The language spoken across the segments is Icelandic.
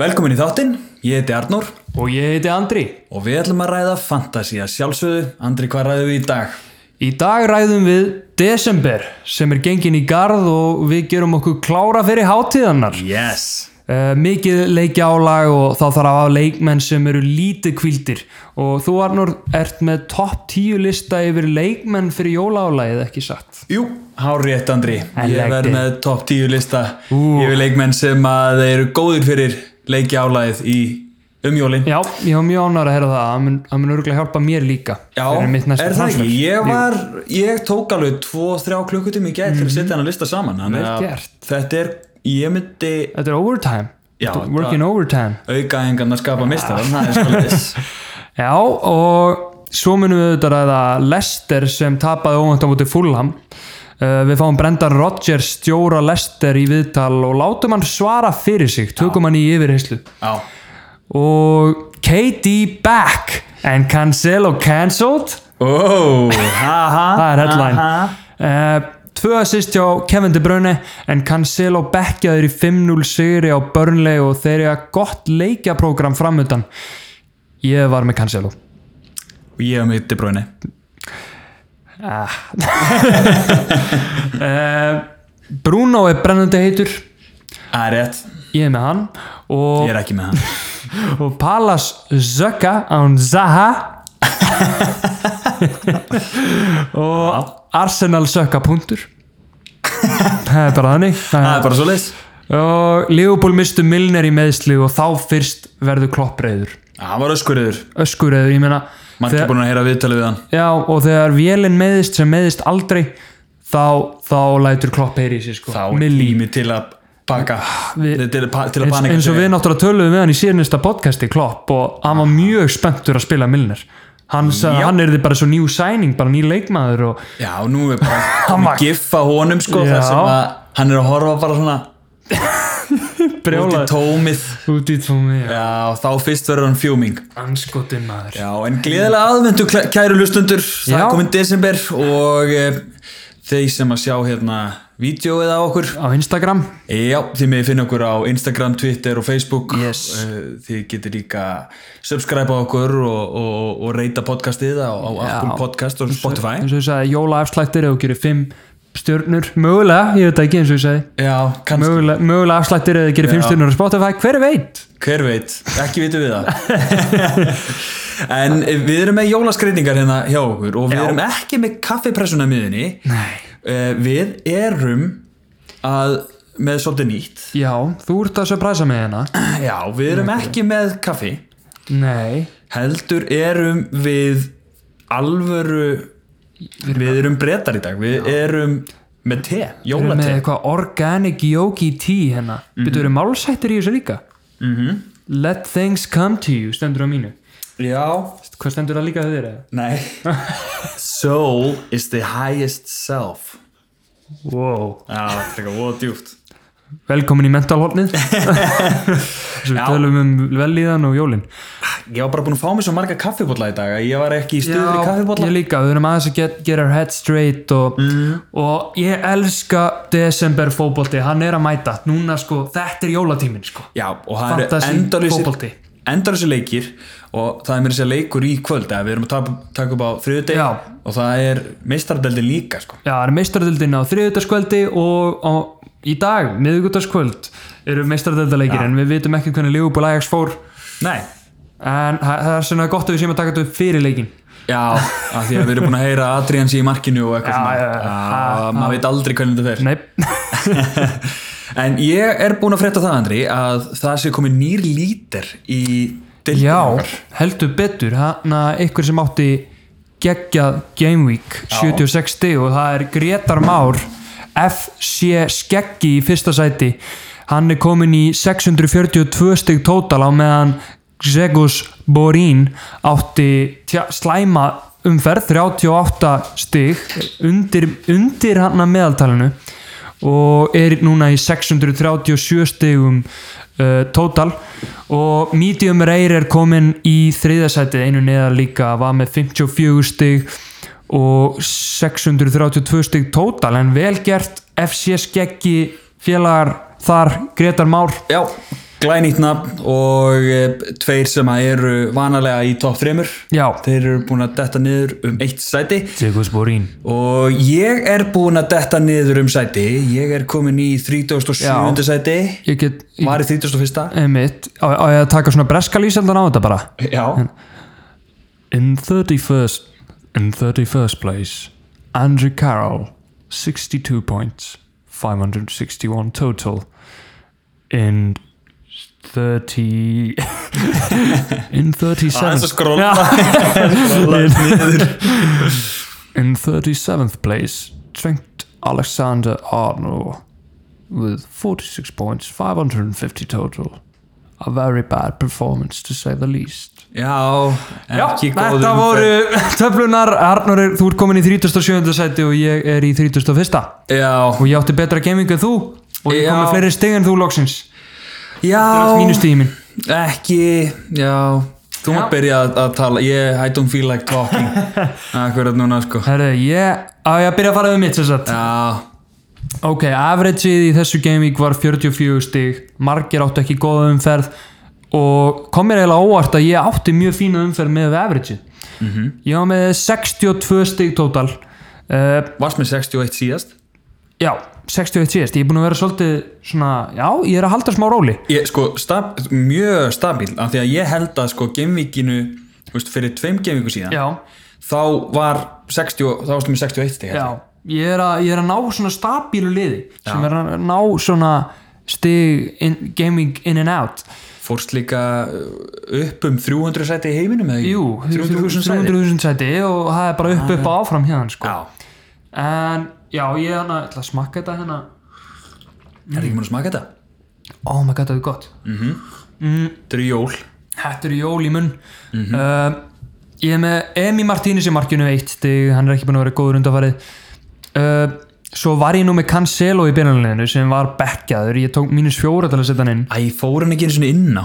Velkomin í þáttinn, ég heiti Arnór Og ég heiti Andri. og við ætlum að ræða Fantasía sjálfsögðu. Andri, hvað ræðum við í dag? Í dag ræðum við Desember sem er gengin í garð og við gerum okkur klára fyrir hátíðannar. Yes! Uh, mikið leikjálag og þá þarf að hafa leikmenn sem eru lítið kvildir og þú Arnur ert með topp 10 lista yfir leikmenn fyrir jólálagið ekki satt. Jú, hár rétt Andri. I ég liked verð it. með topp 10 lista Ú. yfir leikmenn sem að þeir eru góðir fyrir leiki álæðið í umjólin. Já, ég var mjög ánægður að heyra það, það mun, það mun örgulega hjálpa mér líka Já, fyrir mitt næsta er það ekki? framför. Ég, var, ég tók alveg 2-3 klukkutími í gæð til að setja hann að lista saman. þannig Mhm. Vel að gert. Þetta er, ég myndi Þetta er overtime, Já, Þetta er working overtime. auka engan að Ah. skapa mistaðan, það er svolítið. Já og svo munum við auðvitað ræða Lester sem tapaði óvænt á múti Fulham Uh, við fáum Brendan Rodgers stjóra Lester í viðtal og látum hann svara fyrir sig, tökum hann í yfirheyslu Já, og KD back and Cancelo cancelled Ó, haha það er headline aha. uh, tvö assist hjá Kevin De Bruyne en Cancelo bekkjaður í 5-0 sigri á Burnley og þeir eru að gott leikjaprógram framöndan ég var með Cancelo Og ég hef mig De Bruyne Eh, Bruno er brennandi heitur Það er rétt, ég er með hann ég og, er ekki með hann og Palas Zöka án Zaha og Arsenal Zöka punktur það er bara þannig Það er bara svo leys og Leopold mistu Milner í meðsli og þá fyrst verður kloppreður Það var öskurður, öskurreður, ég meina mann er þegar- búin að heyra viðtalið við hann já, og þegar vélinn meðist sem meðist aldrei þá, þá lætur klopp heyri í sér sko Þá er Milli. tími til að baka Við- til, pa- til að eins, panika eins og við náttúrulega töluðum við hann í síðanista podcasti Klopp og hann var mjög spenntur að spila Milner hann, sagði, Já. hann er bara svo nýj sæning, bara ný leikmaður og Já, nú er bara Hann var- að giffa honum sko Já. þar sem að hann er að horfa bara svona út í brjólaði tómið út í tómi ja. Já, þá fyrst verður hann fjúming anskotin maður Já, en gleðilega aðvendu kæru lustundur Það Já. er komin desember og e, þeir sem að sjá hérna vídjóið á okkur á Instagram Já, þið með finna okkur á Instagram, Twitter og Facebook Yes. Eh, Þið getur líka subscribe á okkur og, og, og reyta podcastið á, á Apple Podcast og Spotify eins og ég sagði, jólaafslættir eða þú gerir fimm stjörnur, mögulega, ég veit það ekki eins og ég sagði Já, kannski, mögulega, mögulega afslættir eða þú gerir fimm stjörnur á Spotify, hver veit hver veit, ekki vitum við það En eh, við erum með jólaskreitingar hérna hjá okkur og við Já. erum ekki með kaffipressuna miðinni Nei. Eh, Við erum að, með svolítið nýtt já, þú ert að surprisa mig hérna Já, við erum ekki með kaffi nei, heldur erum við alvöru við erum breytar í dag við erum með te, Mhm. við erum með jólate eitthvað organic yogi tea hérna mm -hmm. byrjuðu málsættir í þessu líka Mhm. -hmm. let things come to you stendur á mínu já, hvað stendur það líka þeir eða? nei soul is the highest self Wow. já, þetta er góða djúft velkomin í mentalhóllnið sem við Já. tölum um velíðan og jólin ég var bara búin að fá mér svo marga kaffibólla í dag að ég var ekki í stuður í ég kaffibólla líka, við erum aðeins að get, get our head straight og, Mhm. og ég elska desember fótbolti, hann er að mæta núna sko, þetta er jólatímin sko já, og það eru Fantasy fótbolti. endalvísir endalvísir leikir og það er mér að segja leikur í kvöld eða við erum að taka, taka upp á þriðudeg Já. og það er meistardeldin líka sko. Já, það er meistardöldin á þriðutaskvöldi og á, í dag, miðugutaskvöld eru meistardöldalegir en við vitum ekki hvernig Liverpool Ajax fór nei, en þa- það er svona gott að við séum að taka þetta upp fyrir leikin Já, af því að við erum búin að heyra Adrian sé í markinu og eitthvað Já, svona já, já. já, maður veit aldrei hvernig þetta Nei, fer En ég er búin að frétta það, Andri að það sé komið nýr lítir í deildinni já, okkar. heldur betur hann að ykkur sem átti geggjað Game Week 76 stig og það er Gretar Már FC Skeggi í fyrsta sæti hann er komin í 642 stig tótal á meðan Gzegus Borín átti tja, slæma umferð 38 stig undir, undir hann að meðaltalinu og er núna í 637 stigum uh, total og medium rare er komin í þriðasætið einu neðar líka var með 54 stig og 632 stig total en vel gert FC Skeggi félagar þar Gretar Már Já, glænýtt nafn og eh, tveir sem að eru vanalega í topp þreymur Já. þeir eru búin að detta niður um eitt sæti Sigurðs Borín og ég er búin að detta niður um sæti ég er komin í 37. Já. sæti Ég get, ég, var í 31. einmitt, á, á ég að taka svona breska lýseldan á þetta bara Já, In 31st In 31st place Andrew Carroll 62 points 561 total In 30 In 37th aðeins að skróla skróla niður In 37th place, Trent Alexander Arnold with 46 points, 550 total. A very bad performance to say the least. Já, ekki góð þetta voru töflunar. Arnur, er- þú ert komin í 37. seti og ég er í 31. Já, Og ég átti betra gaming en þú og ég kom Já. með fleiri stig en þú loksins. já Mínustíði minn. ekki, já þú Já. maður byrja að, að tala ég, I don't feel like talking akkurat núna sko Herru, ég, á ég að byrja að fara við mitt sem sagt. já, Ok, averageið í þessu gameweek var 44 stig, margir áttu ekki góða umferð og kom mér eiginlega óvart að ég átti mjög fína umferð með averageið. Ég var með 62 stig total. Uh, varst með 61 síðast já, 61 síðast. Ég er búin að vera svolítið svona, já, ég er að halda smá róli. ég, sko, stab, mjög stabíl af því að ég held að sko gemvikinu þú veist, fyrir tveim gemviku síðan Já, þá var 60, þá varstu með 61 stig held ég. já. Ég er að, ég er að ná svona stabílu liði sem er að ná svona stig in, gaming in and out. fórst líka upp um 300 sæti í heiminum eða ekki? Jú, 300.000 sæti 300.000 sæti og það er bara upp upp og áfram hérna sko. já, En já, ég hana, ætla að smakka þetta hérna Mm. er ekki múin að smaka þetta? Oh my god, þetta er gott Mm. þetta eru jól Þetta eru jól í munn Mhm. uh, Ég er með Emi Martínez í markinu eitt stig, hann er ekki búin að vera góður undanfarið uh, Svo var ég nú með Cancelo í byrjanleginu sem var bekkjaður Ég tók mínus fjóra til að setja hann inn æ, fór hann ekki einu svona inn á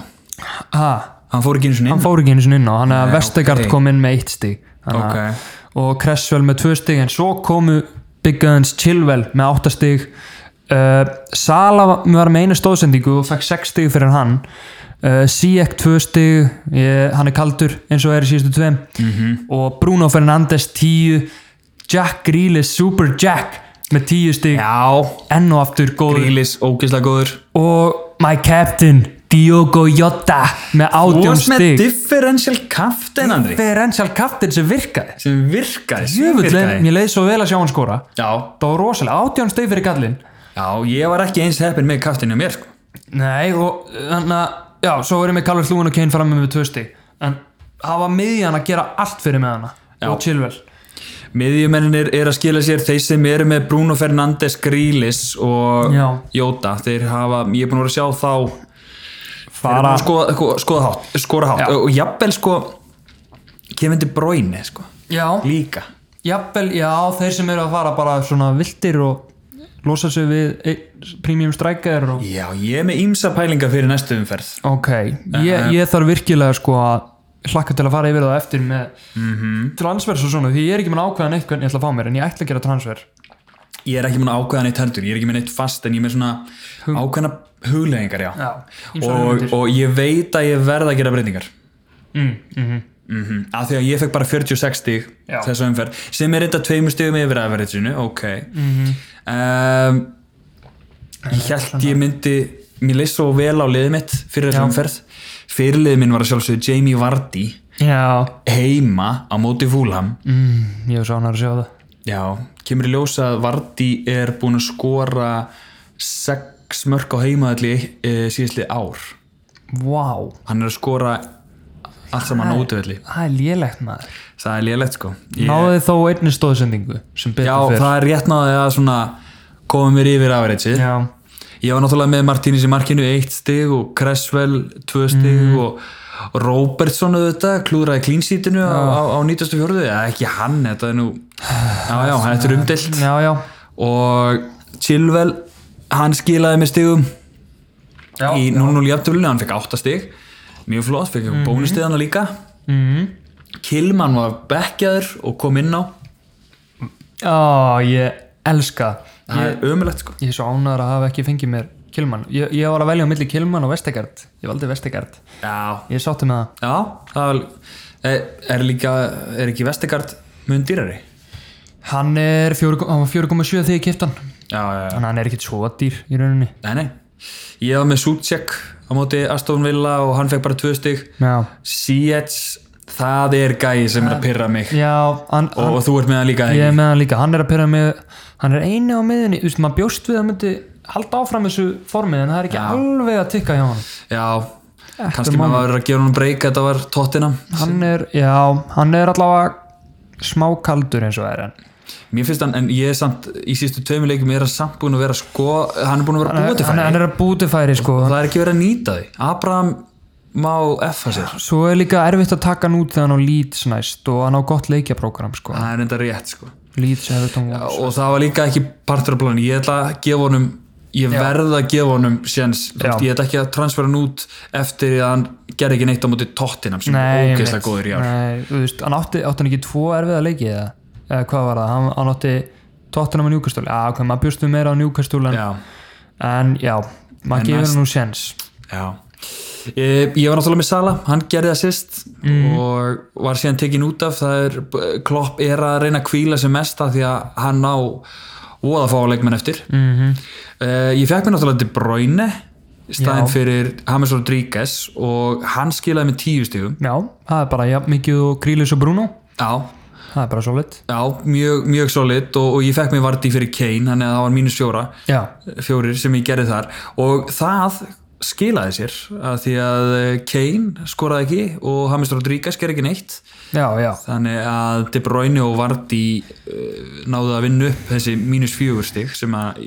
Ha, hann fór ekki einu svona hann inn á fór ekki einu sinni inn á Þannig að Nei, Vestegard ok. kom inn með eitt stig Þannig að- Ok. Og Cresswell með tvö stig En svo komu Big Guns Chilwell með átta stig uh, Sala var með einu stóðsendingu og fekk sex stig fyrir hann uh, Sijek tvö stig ég, hann er kaldur eins og er í síðustu tveim -hmm. Mhm. og Bruno Fernandes tíu Jack Grealish Super Jack með tíu stig já, enn og aftur góður Grílis, ógeðslega góður og my captain Diogo Jota með átjón stig differential captain Andri Differential captain sem virkaði sem virkaði sem Jöfnveld, virkaði. mér leiði svo vel að sjá hann skora já, Það var rosalega, átján stig fyrir gallin já, ég var ekki eins heppin með captainu mér sko. Nei, og þannig að Já, svo verðum við Kallur Lúin og Kane fram með tvö stig En það var miðjan að gera allt fyrir með hana Já. Og Chilwell miðjumennir er að skila sér þeir sem eru með Bruno Fernandes Grílis og Já. Jóta þeir hafa, ég er búin að vera að sjá þá þeir Fara- eru búin að skoða, skoða, skoða hátt, skora hátt Já. og jafnvel sko kemur til bróinu sko Já, líka jafnvel, já, þeir sem eru að fara bara svona viltir og losa sig við einn premium striker og... já, ég er með ímsa pælinga fyrir næstu umferð Ok, Eh, ég, ég þarf virkilega sko að hlakka til að fara yfir það á eftir með Mhm. transfers og svona, því ég er ekki með ákveðan eitt hvernig ég ætla að fá mér, en ég ætla að gera transfer ég er ekki mun ákveða neitt heldur, ég er ekki með neitt fast en ég er með svona ákveðna huglegingar já. Já, ýmsar og, hugmyndir. og ég veit að ég verð að gera breytingar mm, mm af því að ég fekk bara 46 stig mhm. Já. þessa umferð, sem er reynda tveimur stigum yfir aðverðinu, ok Mhm. mm ég held ég myndi mér leist svo vel á liðið mitt fyrir þessa umferð fyrirliðið minn var að sjálfsögðu Jamie Vardy Já, heima á móti fúlham mm, ég var sánar að sjá það Já, kemur í ljós að Vardí er búin að skora sex mörk á heimaðalli e, síðastli ár. Vá, wow. Hann er að skora allt saman á útvelli. það er lélegt maður Það er lélegt sko. Ég, Náðu þið þó einni stóðsendingu sem betur já, fyrr það er rétt náði að svona koma mér yfir afreitsið. Já, Ég var náttúrulega með Martínis í markinu eitt stig og Cresswell tvö stig Mm. og Robertson auðvitað klúðraði klínsítinu á, á, á 94. Eða ekki hann, þetta er nú... Já, já, þetta er umdelt. já, já, og Chilwell hann skilaði með stigum já. í 0-0 jafntöflinu, hann fekk 8 stig mjög flott, fekk mm -hmm. bónustigana líka Mm. Kilman var bekkjaður og kom inn á Ó, ég elska það. það er sko. ömulegt sko Ég er svo ánæður að hafa ekki fengið mér Kilman, ég, ég var að velja á milli Kilman og Vestegard, ég valdi Vestegard Já, ég sátti með það, já það er, er líka, er ekki Vestegard mun dýrari? hann er 4 hann var 4,7 þegar ég kipta hann Já, já, já. þannig að hann er ekkit svo dýr í rauninni Nei, nei. Ég var með Sútsjek á móti Aston Villa og hann fekk bara tvö stygg. já, Sietz, það er gæi sem er að pyrra mig. já hann, Og, og þú ert með hann líka Ég þegar. er með hann líka, hann er að pyrra með hann er einu á miðunni, þú veist maður bjóst við að hann myndi halda áfram þessu formið en það er ekki alveg að tikka hjá hann Já, kannski maður var að gera hann breyka, þetta var tóttina. hann er, já, hann er allavega smákaldur eins og er en Mér finnst hann, en ég er samt, í sístu tveimur leikum er hann samt búin að vera sko, hann er búin að vera hann, búið til er- hann er að bútifæri sko Það er ekki verið að nýta því. Abraham má effa sér. svo er líka erfitt að taka hann út þegar hann á Leeds næst og hann á gott leikjaprógram sko Það er enda rétt, sko. Leeds hefur tónum Og það var líka ekki partur af planu. Ég ætla að gefa honum, ég verð að gefa honum séns. Þú veist, Já. Ég ætla ekki að transfera hann út eftir að hann gerði ekki neitt á móti tóttinam sem er Nei, ógeðslega einmitt. góður í ár. Nei, þú veist, hann átti, átti hann ekki tvo erfiða leiki eða, eða hvað var það, hann, hann átti tóttunum á njúkastúli, já, hvað maður bjóstu meira á njúkastúli en, Já, en já, maður En gefur næst- hann nú séns já. E, ég var náttúrulega með Sala, hann gerði það sýst Mm. og var síðan tekin út af það er, eh, Klopp er að reyna að kvíla sem mest af því að hann ná voða fá leikmenn eftir Mhm. Uh, ég fekk mér náttúrulega De Bruyne staðinn Já. fyrir James Rodríguez og hann skilaði með tíu stífum já, það er bara, já, mikið og Krílis og Bruno já, það er bara svo lit já, mjög, mjög solid og, og ég fekk mér Vardí fyrir Kane þannig að það var mínus fjóra já, fjórir sem ég gerði þar og það skilaði sér að því að eh, Kane skoraði ekki og James Rodríguez ger ekki neitt já, já, þannig að De Bruyne og Vardí uh, náðu að vinna upp þessi mínus fjögur stig sem að,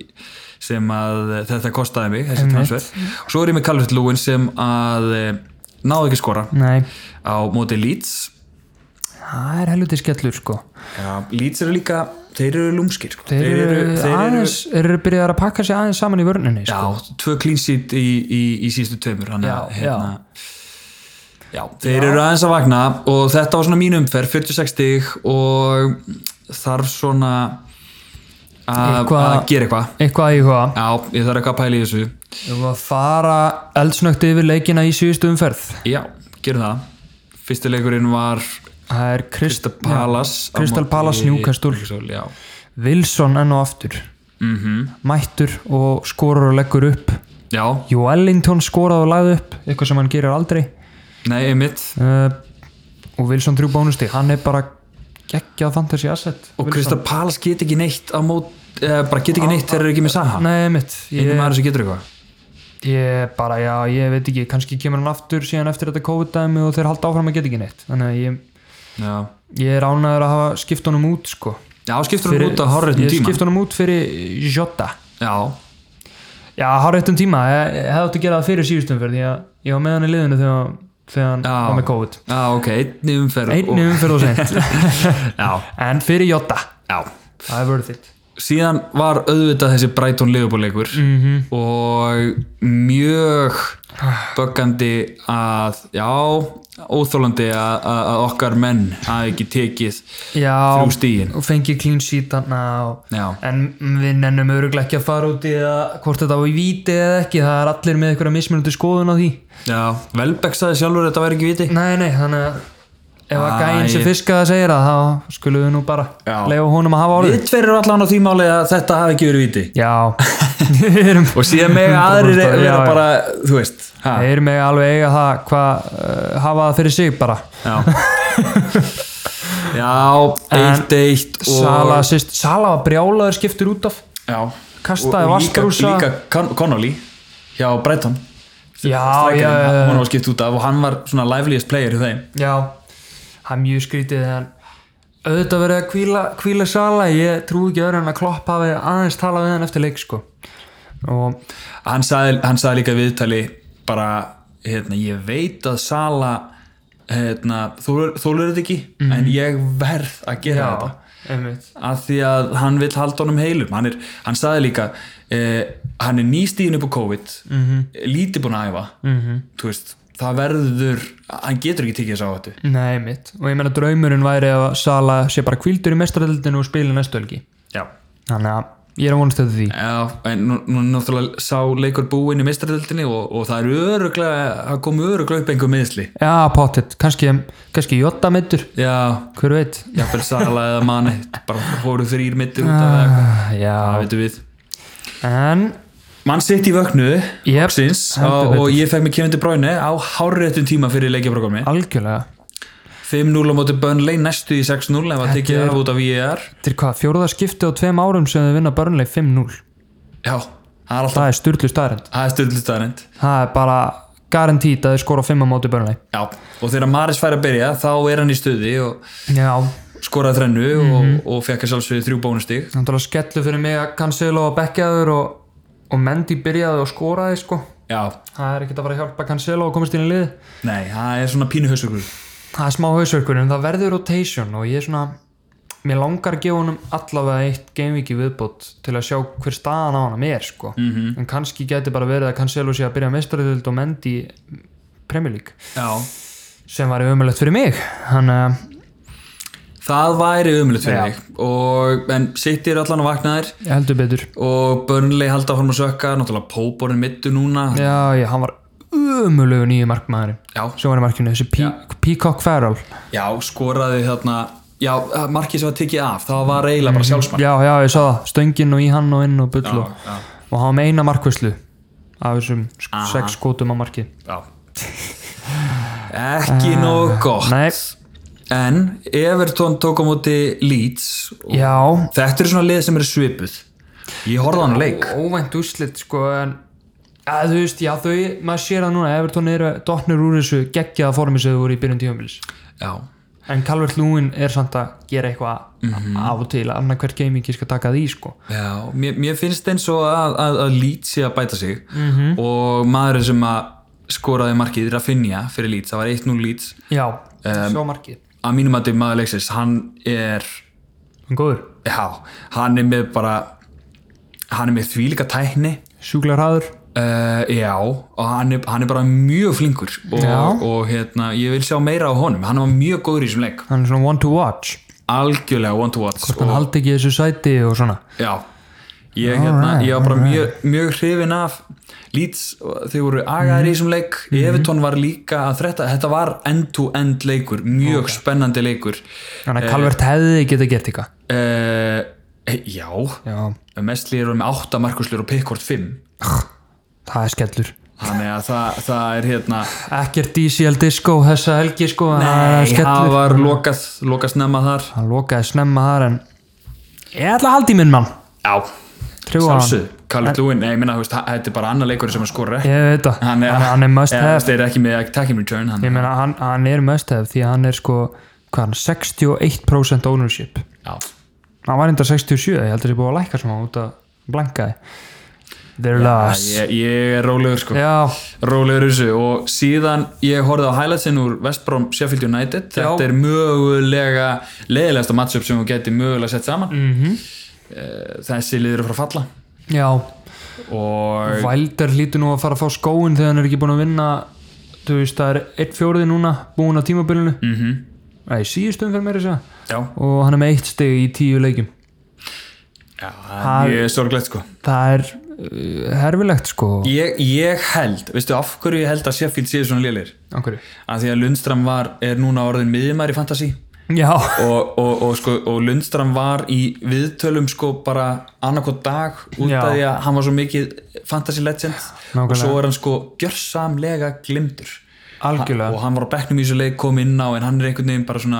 sem að eh, þetta kostaði mig þessi Einmitt. transfer og svo er ég með Calvert Lewin sem að uh, náðu ekki að skora nei á móti Leeds það er helviti skellur sko Já, Leeds eru líka, þeir eru lúmskir sko. þeir eru aðeins, þeir eru byrjað að pakka sig aðeins saman í vörninni sko. Já, tvö clean sheet í, í, í síðustu tveimur hann Já, já, þeir eru aðeins að vakna og þetta var svona mín umferð 46 stig og þarf svona að Eitthvað- að gera eitthvað eitthvað í hvað Já, ég þarf eitthvað að pæla í þessu við varum að fara eldsnögt yfir leikina í síðustu umferð Já, gerum það Fyrsti leikurinn var það er Krist, Palace á Crystal móti- Palace, Newcastle. Newcastle, Já, Wilson enn og aftur Mhm. mættur og skorur og leggur upp já Jó Ellington skorað og lagði upp eitthvað sem hann gerir aldrei nei, einmitt uh, og Wilson þrjú bónusti hann er bara geggjað fantasy asset Og Krista Palace get ekki neitt á mót eh, bara get ekki neitt þegar þeir eru ekki með Saha Nei, mitt, Einu ég, maður sem getur eitthvað ég bara, já, ég veit ekki kannski kemur hann aftur síðan eftir þetta COVID-dæmi og þeir halda áfram að geta ekki neitt þannig að ég, Já, ég er ánæður að hafa skipt honum út sko. já skiptur hann út á hárréttum ég tíma skipt honum út fyrir Jota Já, Já, hárréttum tíma, ég, ég hefði átt að gera það fyrir síðustum fyrir því að ég var með hann í liðinu þegar, þegar hann Já. var með COVID já, ok, einni umferð einni umferð og sent og, Já, en fyrir Jota já það er worth it Síðan var auðvitað þessi Brighton Liverpool-leikur -hmm. og mjög böggandi að, já, óþólandi að, að að okkar menn hafi ekki tekið þrjú já, stíin. og fengið clean sheet þarna og Já, en við nennum öruglega ekki að fara út í það hvort þetta var í víti eða ekki það er allir með einhverja mismunandi skoðun á því já, Velbeck sagði sjálfur að þetta væri ekki viti. nei, nei, þannig að ef að Æ. gæinn sem fiskaða segir að þá skulum við nú bara Já. leifa honum að hafa orðið Við tverir allan á því máli að þetta hafi ekki verið viti. já, við erum Og síðan með 100% aðrir já, vera já. bara, þú veist, ha, Þeir eru mig alveg eiga það hvað uh, hafa það fyrir sig bara já. Já, eitt, eitt og... Sala, sýst, Sala var brjálaður skiptur út af Já Kastaði Og- og líka- Vastrúsa. Líka Con- Connolly hjá Brighton Já, Strækirinn, já, hann já, var skipt út af og hann var svona liveliest player hjá þeim já Það er mjög skrítið en auðvitað verið að hvíla, hvíla Sala ég trúi ekki öðru en að Klopp hafi aðeins talað við hann eftir leik sko og hann sagði, hann sagði líka í viðtali bara, hérna, ég veit að Sala hérna, þólur þetta ekki Mhm. en ég verð að gera þetta einmitt að því að hann vill halda honum heilum hann, er, hann sagði líka eh, hann er nýstíðin upp á COVID Mhm. lítið búin að æfa -hmm. veist, það verður hann getur ekki tekið þess á þetta Nei, einmitt og ég meina draumurinn væri að Sala sé bara hvíldur í mestradildinu og spili næstu helgi já þannig að ég er að vonast eftir því Já, en nú, nú náttúrulega sá leikur búinn í mistradöldinni og, og það er öruglega, það kom öruglega upp einhver meðsli. já, pottet, kannski, kannski Jota mittur, Já, hver veit jafnvel Sala eða Mane, bara fóru þrýr mittir út af það, Ah, það já, veitum við. en Mann sitt í vöknu, Jep, síns, heldur og ég fekk mig kemindi bráinu á hárréttum tíma fyrir leikjaprogrammi. algjörlega 5-0 á móti Burnley, næstu í 6-0 ef að tekið af út af VAR. til hvað, fjóruða skipti á tveim árum sem þau vinna Burnley 5-0 Já, það er alltaf, það er styrlu staðrend það er stöldlistarind. það er bara garantít að þau skora 5 á móti Burnley Já, og þegar Maris fær að byrja, þá er hann í stuði og já, skoraði þrennu og, og fekk að sjálfsögðu þrjú bónustig. náttúrulega skellu fyrir mig að Cancelo að bekkjaður og, og Mendy byrjaði og skoraði sko Já, það er ekkert að fara að hjálpa Cancelo að komast inn í lið Nei, það er svona pínu hausökur það er smá hausverkur en það verður rotation og ég er svona mér langar að gefa honum allavega eitt gamevíki viðbót til að sjá hver staðan á hann er sko -hmm. Mhm. en kannski getur bara verið að Cancelo sé að byrja meistariðild og Mendy Premier League Já sem var umöðlegt fyrir mig hann uh, Það væri umlut fyrir mig og, En City er allan að vakna þær heldur betur og Burnley halda fórum að sökka náttúrulega Póborinn mittu núna já, já, hann var umöðlegu nýju markmaðurinn Já, sem var í markinu, þessi Pe Peacock Farrell já skoraði þarna Já, markið sem var tekið af það var eiginlega bara sjálfsmark já, já, ég sá það, stöngin og í hann og inn og bull og, Mhm. já, og hann var með eina markvislu af þessum sk- Aha. sex skotum á marki já. Ekki nóg gott nei, En Everton tók á móti Leeds og já, Þetta eru svona lið sem eru svipuð Ég horfði á hann leik óvænt úslit sko en að, þú veist, já þau, maður sér það núna Everton eru dotnir úr þessu geggjaða formi sem þau voru í byrjun tíumils Já, en Calvert Lúin er samt að gera eitthvað Mhm. af og til, annað hvert gaming ég skal taka því sko Já, mér, mér finnst eins og að, að, að Leeds sé að bæta sig -hmm. og maðurinn sem að skoraði markið Rafinha fyrir Leeds, það var 1-0 Leeds já, svo markið að mínum að maður leiksins, hann er hann góður, já, hann er með bara hann er með þvílíka tækni sjúklar hraður uh, já, og hann er, hann er bara mjög flinkur Já. og, og hérna, ég vil sjá meira á honum, hann var mjög góður í þessum leik hann er svona one to watch algjörlega one to watch hann haldi ekki þessu sæti og svona Já, ég, hérna, Alright, ég var bara mjög, mjög hrifin af Leeds, þau voru agaðir Mhm. í þessum leik Everton var líka að þretta þetta var end-to-end leikur mjög spennandi leikur þannig Eh. að Calvert hefði geta gert eitthvað uh, Já, já, Mestli eru með 8 markuslur og Pickford 5 það er skellur þannig að það, það er hérna ekkert DCL disco þessa helgi sko en það er Nei, það skellur var lokað, lokað snemma þar hann lokaði snemma þar en ég ætla að haldi minn mann Já, trúa hann sjálfsög, Callum Lewin Nei, ég minna, þetta er bara annar leikur sem að skora ég veit það, Hann hann er- er, hann er must eða have það er ekki með attacking return hann, ég meina hann, hann er must have því að hann er sko hvað hann, 61% ownership Já, hann var enda 67, ég held að það er búið að lækka svona út að blankaði they're lost ég, ég er rólegur sko já, Rólegur í þessu og síðan ég horfði á highlightsin úr West Brom Sheffield United Já. þetta er mögulega leiðilegasta matchup sem þú geti mögulega sett saman mm Mhm. -hmm. þessi liður frá falla já og Valder lítur nú að fara að fá skóin þegar hann er ekki búin að vinna þú veist, það er 1 fjóruði núna búin á tímabilinu mm -hmm. Mhm. Æ, síðustum fyrir mér þess að segja. já, og hann er með eitt steg í tíu leikjum já það er mjög sorglegt sko það er uh, herfilegt sko ég, ég held, veistu af hverju ég held að Sheffield séu svona liðir Angur. að því að Lundström var, er núna orðin miðjumar í fantasy já, og, og, og, sko, og Lundström var í viðtölum sko bara annarkot dag út Já. af því að hann var svo mikið fantasy legend Nákvæmlega. og svo er hann sko gjörsamlega glimtur algjörlega og hann var á bekknum í þessu leik kom inn á en hann er einhvern veginn bara svona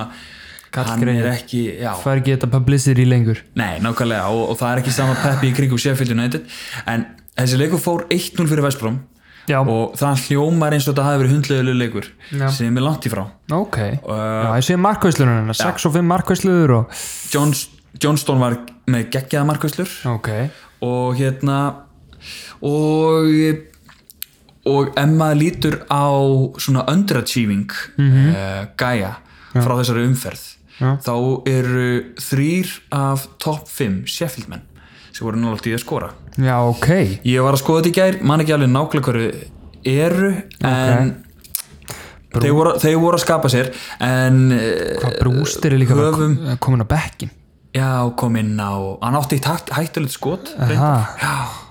hann Kallgreyið. er ekki, já, fær ekki þetta publicity lengur nei, nákvæmlega og, og það er ekki sama peppi í kringum Sheffield United en þessi leikur fór 1-0 fyrir Vestbrom já, og það hljómar eins og þetta hafi verið hundleguleg leikur Já. sem er langt í frá ok já, uh, ég sé markvæslunum hennar, 6 og 5 markvæsluður og... Jones, Johnstone var með geggjaða markvæslur ok, og hérna og og ef maður lítur á svona underachieving mm gæja frá þessari umferð Mhm. Já. þá eru þrýr af topp 5 Sheffield menn sem voru náttúrulega í að skora já ok ég var að skoða þetta í gær, man ekki alveg nákvæmlega hverju eru en þeir, voru, þeir voru að skapa sér en eh, hvað brústir er líka höfum höfum... komin á bekkin já, kom inn á hann átti eitt hætt, hættulegt skot reyndar. Aha.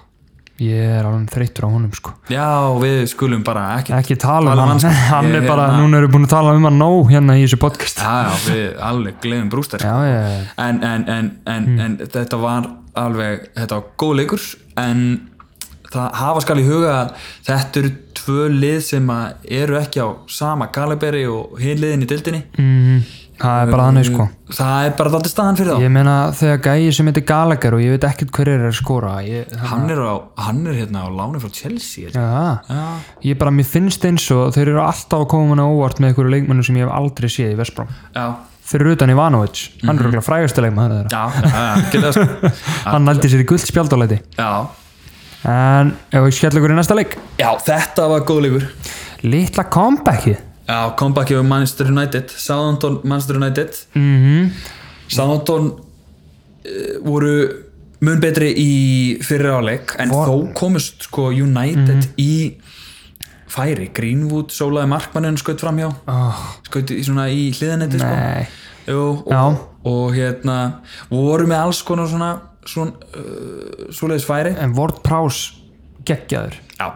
ég er alveg þreyttur á honum sko já, við skulum bara ekki ekki tala um Tala um hann, hann, sko. hann er Ég- bara, hérna- núna erum við búin að tala um hann nóg hérna í þessu podcast já, já, við alveg gleðum brústar já, ég, en, en, en, en, en þetta var alveg, þetta var góð leikur en það hafa skal í huga að þetta eru tvö lið sem að eru ekki á sama galiberi og hin liðin í dildinni mm, það er bara þannig sko það er bara þátti staðan fyrir þá ég meina þegar gæi sem heitir Gallagher og ég veit ekkert hver er að skora ég, hann, er á, hann er hérna á láni frá Chelsea já. já, Já. ég bara, mér finnst eins og þeir eru alltaf að koma manna óvart með einhverju leikmennu sem ég hef aldrei séð í Vestbrám já, þeir eru utan Ivanovic, hann er röglega frægasti leikmenn þeirra Mhm. já, já, já, já, hann nældi sér í gullt spjaldalæti já. en ef við skellum ykkur í næsta leik já þetta var góð leikur litla comebackið Já, comeback yfir Manchester United Southampton, Manchester United mm Mhm. Southampton uh, voru mun betri í fyrir áleik en Vor- þó komust sko United í færi, Greenwood sólaði markmannin skaut framhjá oh, skaut í svona í hliðanetti sko nei Jú, Já. og, og hérna voru með alls konar svona svona, uh, svoleiðis færi en Ward Prowse geggjaður Já,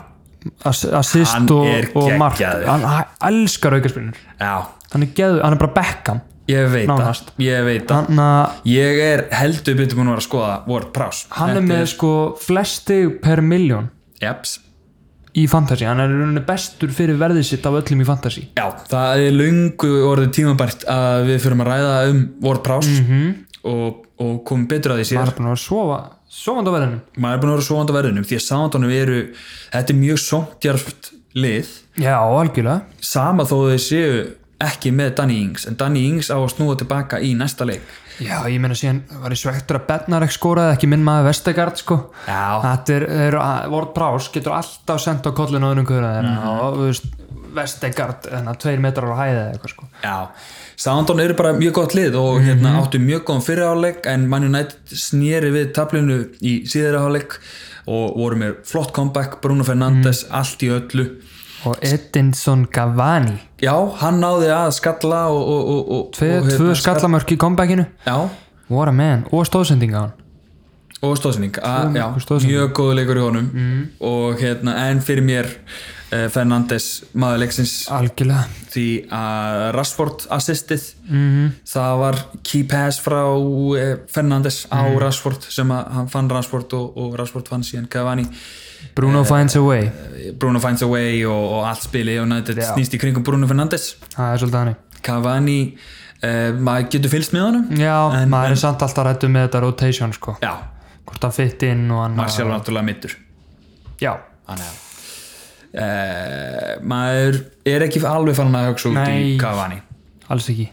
Ass- assist Hann og, er og mark geggjaður. hann hann elskar aukarspinnur já, hann er, geðu, hann er bara Beckham ég veit Nánast. það ég veit það hann, að- Ég er heldur betur búin að vera að skoða Ward Prowse hann er með sko flesti per miljón Japs í fantasy, hann er í rauninni bestur fyrir verðið sitt af öllum í fantasy Já, það er lungu orðið tímabært að við fyrum að ræða um Ward Prowse Mhm. og, og komum betur að því hann síðar. er búin að vera sofa sofandi á verðinum Maður er búin að vera svoðan á verðinum því að samandunum eru, þetta er mjög sóntjarft lið, já, algjörlega sama þó þau séu ekki með Danny Ings, en Danny Ings á að snúa tilbaka í næsta leik. já, ég meina síðan var ég svektur að Bednarek skoraði ekki minn maður Vestegard sko Já, þetta er, er Ward Prowse getur alltaf sendt á kollin og öðrum kvöra mm -hmm. og þú veist, Vestegard þannig að tveir metrar á hæði eða eitthvað sko já. Samandunum eru bara mjög gott lið og Mhm. hérna áttu mjög góðan fyrirháleik en Man United snýri við tablinu í síðariháleik og voru með flott comeback, Bruno Fernandes, Mhm. allt í öllu. og Edinson Cavani Já, hann náði að skalla og, og, og, og Tve, og, hérna tvö skallamörk í comebackinu Já, what a man, og stóðsendinga á hann og stóðsynning Já, mörg stoðsending. mjög góðu leikur í honum Mhm. og hérna, en fyrir mér eh, Fernandes maður leiksins algjörlega því að Rashford assistið Mhm. það var key pass frá eh, Fernandes á Mhm. Rashford sem að hann fann Rashford og, og Rashford fann síðan Cavani Bruno finds a way, Eh, Bruno finds a way og, og allt spili og nættið Já. snýst í kringum Bruno Fernandes það er svolítið hannig Cavani, eh, maður getur fylgst með honum já, En- maður er samt alltaf rættu með þetta rotation sko, Já, hvort það fitt inn og annað Marcial var náttúrulega mittur Ah. já, þannig að eh, maður er ekki alveg farin að hugsa út í Nei. Cavani alls ekki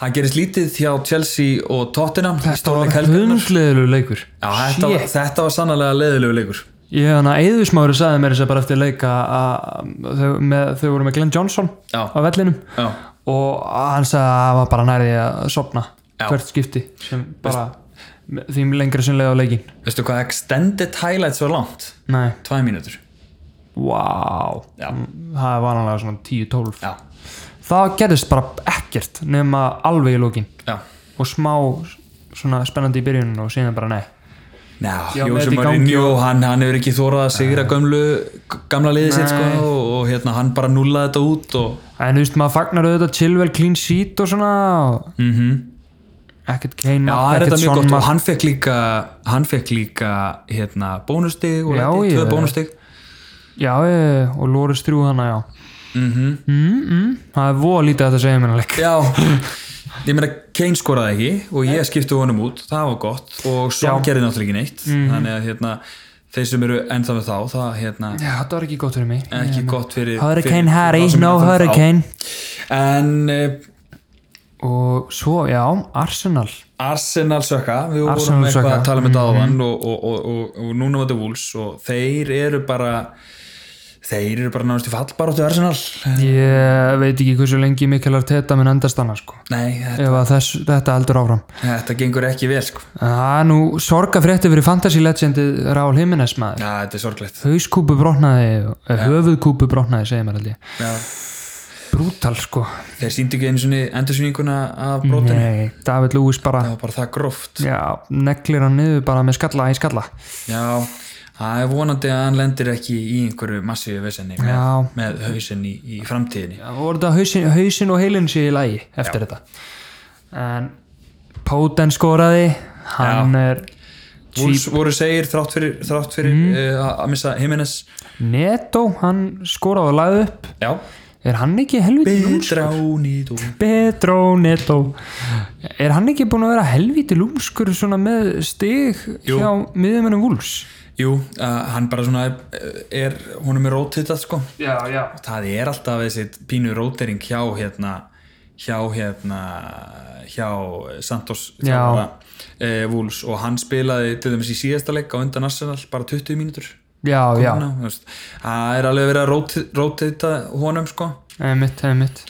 það gerist lítið hjá Chelsea og Tottenham þetta var helgarinnar. hundleðilegu leikur Já, þetta, var, Shit. þetta var sannlega leðilegu leikur ég hef hann að Eðusmári sagði mér þess að bara eftir leika að þau, með- þau voru með Glenn Johnson Já. á vellinum já, og hann sagði að hann var bara nærði að sopna Já. hvert skipti sem bara með- því lengra sem leiði á leikin veistu hvað extended highlights var langt nei, tvæ mínútur wow Já. Mm, það var alveg svona 10-12 já, það gerðist bara ekkert nema alveg í lókin já, og smá svona spennandi í byrjunum og síðan bara nei já, Já, með þetta Jósi í gangi Mourinho hann, hann hefur ekki þórað að sigra gömlu gamla liðið sitt sko Nei. og, og hérna, hann bara nullaði þetta út og en þú veist maður fagnar auðvitað chillvel clean sheet og svona og mm ekkert Já, Kane það mark, er Ah, þetta ekkert mjög Son gott mark. og hann fekk líka hann fekk líka hérna bónustig og Já, læti, ég- tvö bónustig Já, eh, og Loris 3 hana, já Mhm. mm -hmm. Það er voða lítið að þetta segja mér leik Já, ég meina Kane skoraði ekki og ég skipti honum út, það var gott og Son gerði náttúrulega ekki neitt þannig að hérna, þeir sem eru ennþá með þá það hérna Já, þetta var ekki gott fyrir mig er ekki gott fyrir Hurricane fyrir- Harry, fyrir þá sem no eru ennþá með þá. hurricane En uh, Og svo, já, Arsenal Arsenal sökka, við vorum Arsenal eitthvað sökka. Mhm. að tala með dáðan og, og, og, og, og núna var þetta Wolves og þeir eru bara þeir eru bara náttúrulega fallbaróttu Arsenal Ég veit ekki hversu lengi Mikael Arteta minn endast annars sko Nei, þetta Ef að þess, þetta heldur áfram Þetta gengur ekki vel sko Það er nú sorgafrétti fyrir Fantasy Legendi Rál Jimenez maður Já, þetta er sorglegt Hauskúpu brotnaði, höfuðkúpu brotnaði segir mér held ég Já, brútal sko þeir síndi ekki einu svona endursyninguna Mhm. af brotinu Nei, David Lewis bara það var bara það gróft já, neglir hann niður bara með skalla í skalla já, það er vonandi að hann lendir ekki í einhverju massíu vesenni með, Já. með hausinn í, í framtíðinni Já, voru þetta hausin, hausin og heilin sé í lagi eftir þetta en Póten skoraði hann er Wolves voru segir þrátt fyrir, þrátt fyrir uh, að- að missa Jimenez Neto, hann skoraði og lagði upp já, er hann ekki helviti lúmskur? Bedránið og Pedro Neto er hann ekki búin að vera helviti lúmskur svona með stig Jú. hjá miðumennum Wolves? Jú, uh, hann bara svona er, er honum er rótitað sko Já, já það er alltaf þessi pínu rótering hjá hérna hjá hérna hjá Santos þjálfara, eh, Wolves og hann spilaði til dæmis í síðasta leik á undan Arsenal bara 20 mínútur Já, já, Ná, þú veist, það er alveg verið að róti- rótita honum sko einmitt, einmitt